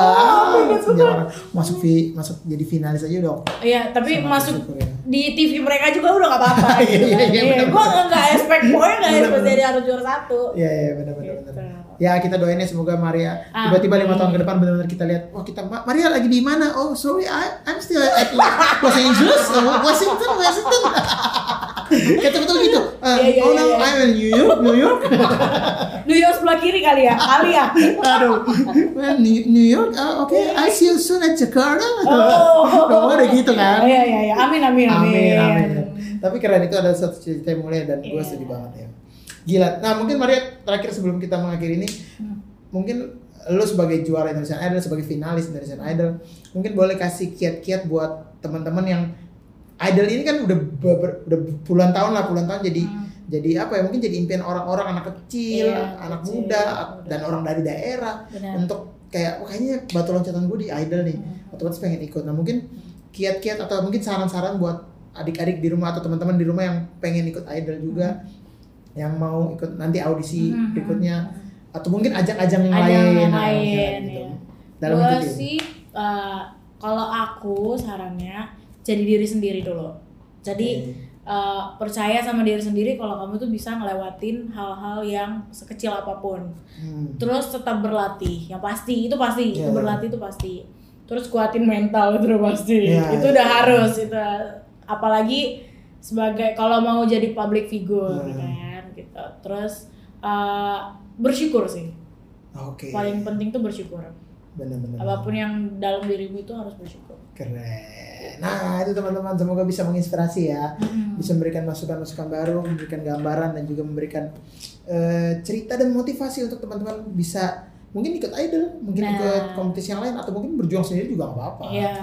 Speaker 1: my God,
Speaker 2: jawara masuk fi, masuk jadi finalis aja udah
Speaker 1: Iya, tapi
Speaker 2: sangat
Speaker 1: masuk
Speaker 2: bersyukur ya.
Speaker 1: di TV mereka juga udah gak apa-apa. gitu.
Speaker 2: Iya, iya,
Speaker 1: Iya,
Speaker 2: benar.
Speaker 1: gue nggak expect poin nggak
Speaker 2: Benar,
Speaker 1: expect
Speaker 2: benar.
Speaker 1: jadi harus juara satu.
Speaker 2: Iya, iya, benar benar
Speaker 1: Gitu.
Speaker 2: benar. Ya, kita doain ya semoga Maria
Speaker 1: Amin.
Speaker 2: tiba-tiba lima tahun ke depan benar-benar kita lihat, wah kita Ma- Maria lagi di mana? Oh, sorry, I, I'm still at Los Angeles, oh, Washington, Washington. Kita betul gitu. Eh,
Speaker 1: Iya, iya,
Speaker 2: oh
Speaker 1: iya,
Speaker 2: no,
Speaker 1: iya.
Speaker 2: I'm in New York, New York.
Speaker 1: New York sebelah kiri kali ya, kali ya.
Speaker 2: Aduh, well, New, New York. Oh, Oke, I see you soon at Jakarta.
Speaker 1: Oh.
Speaker 2: Oh, udah gitu kan?
Speaker 1: Iya, iya, iya. Amin, amin, amin.
Speaker 2: Amin, amin. Tapi keren itu ada satu cerita yang mulia dan gue
Speaker 1: Iya.
Speaker 2: setuju banget ya. Gila. Nah mungkin Maria terakhir sebelum kita mengakhiri ini,
Speaker 1: Hmm.
Speaker 2: mungkin lo sebagai juara Indonesian Idol, sebagai finalis Indonesian Idol, mungkin boleh kasih kiat-kiat buat teman-teman yang Idol ini kan udah beber- udah puluhan tahun lah, puluhan tahun jadi
Speaker 1: Hmm.
Speaker 2: jadi apa ya? Mungkin jadi impian orang-orang anak kecil,
Speaker 1: Iya,
Speaker 2: anak
Speaker 1: kecil,
Speaker 2: muda,
Speaker 1: muda.
Speaker 2: dan orang dari daerah
Speaker 1: Benar.
Speaker 2: untuk kayak wah kayaknya batu loncatan gue di Idol nih,
Speaker 1: Hmm.
Speaker 2: otomatis pengen ikut. Nah mungkin kiat-kiat atau mungkin saran-saran buat adik-adik di rumah atau teman-teman di rumah yang pengen ikut idol juga
Speaker 1: Hmm.
Speaker 2: yang mau ikut nanti audisi
Speaker 1: Mhm.
Speaker 2: berikutnya atau mungkin ajang-ajang yang
Speaker 1: Ajang
Speaker 2: lain,
Speaker 1: yang
Speaker 2: nah,
Speaker 1: lain,
Speaker 2: misalnya gitu.
Speaker 1: ya.
Speaker 2: dalam
Speaker 1: Gua
Speaker 2: hidup ini.
Speaker 1: sih eh, kalau aku sarannya jadi diri sendiri dulu. Jadi eh, percaya sama diri sendiri kalau kamu tuh bisa ngelewatin hal-hal yang sekecil apapun.
Speaker 2: Hmm.
Speaker 1: Terus tetap berlatih, yang pasti itu pasti,
Speaker 2: Iya,
Speaker 1: itu
Speaker 2: iya.
Speaker 1: berlatih itu pasti. Terus kuatin mental itu udah pasti.
Speaker 2: Iya,
Speaker 1: itu
Speaker 2: iya.
Speaker 1: udah harus itu. Apalagi sebagai kalau mau jadi public figure
Speaker 2: Hmm.
Speaker 1: gitu kan gitu. Terus eh, bersyukur sih.
Speaker 2: oke
Speaker 1: Paling penting tuh bersyukur.
Speaker 2: Iya. benar-benar
Speaker 1: apapun yang dalam dirimu itu harus bersyukur
Speaker 2: keren nah itu teman-teman semoga bisa menginspirasi ya bisa memberikan masukan-masukan baru memberikan gambaran dan juga memberikan eh, cerita dan motivasi untuk teman-teman bisa mungkin ikut idol mungkin
Speaker 1: Nah.
Speaker 2: ikut kompetisi yang lain atau mungkin berjuang sendiri juga nggak apa-apa
Speaker 1: iya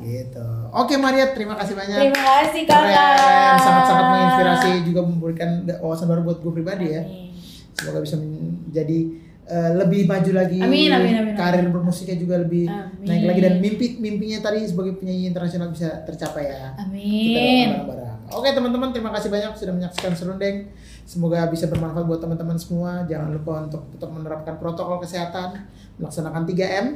Speaker 2: Gitu. Oke Maria, terima kasih banyak.
Speaker 1: Terima kasih
Speaker 2: Keren,
Speaker 1: kakak.
Speaker 2: sangat-sangat menginspirasi juga memberikan wawasan baru buat gue pribadi ya.
Speaker 1: Amin.
Speaker 2: Semoga bisa menjadi eh, lebih maju lagi.
Speaker 1: Amin, amin, amin, amin.
Speaker 2: Karir bermusiknya juga lebih
Speaker 1: Amin.
Speaker 2: naik lagi dan mimpi mimpinya tadi sebagai penyanyi internasional bisa tercapai ya. Kita
Speaker 1: Amin.
Speaker 2: doakan bareng-bareng. Oke teman-teman, terima kasih banyak sudah menyaksikan Serundeng. Semoga bisa bermanfaat buat teman-teman semua. Jangan lupa untuk tetap menerapkan protokol kesehatan, melaksanakan 3M,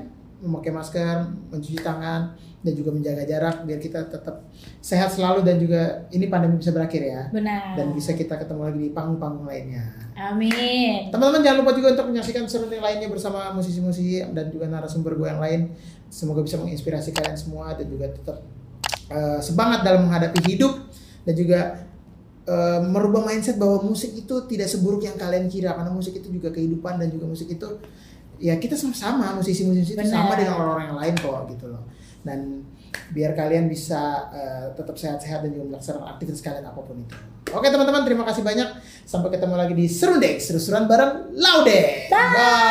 Speaker 2: memakai masker, mencuci tangan, dan juga menjaga jarak biar kita tetap sehat selalu dan juga ini pandemi bisa berakhir ya.
Speaker 1: Benar.
Speaker 2: Dan bisa kita ketemu lagi di panggung-panggung lainnya.
Speaker 1: Amin.
Speaker 2: Teman-teman jangan lupa juga untuk menyaksikan serunding lainnya bersama musisi-musisi dan juga narasumber gue yang lain. Semoga bisa menginspirasi kalian semua dan juga tetap eh, semangat dalam menghadapi hidup dan juga eh, merubah mindset bahwa musik itu tidak seburuk yang kalian kira karena musik itu juga kehidupan dan juga musik itu ya kita sama-sama musisi-musisi itu
Speaker 1: Benar.
Speaker 2: sama dengan orang-orang yang lain kok gitu loh. Dan biar kalian bisa eh, tetap sehat-sehat dan juga melaksanakan aktivitas kalian apapun itu. Oke teman-teman, terima kasih banyak. Sampai ketemu lagi di Serundeng, seru-seruan bareng Laude. Bye.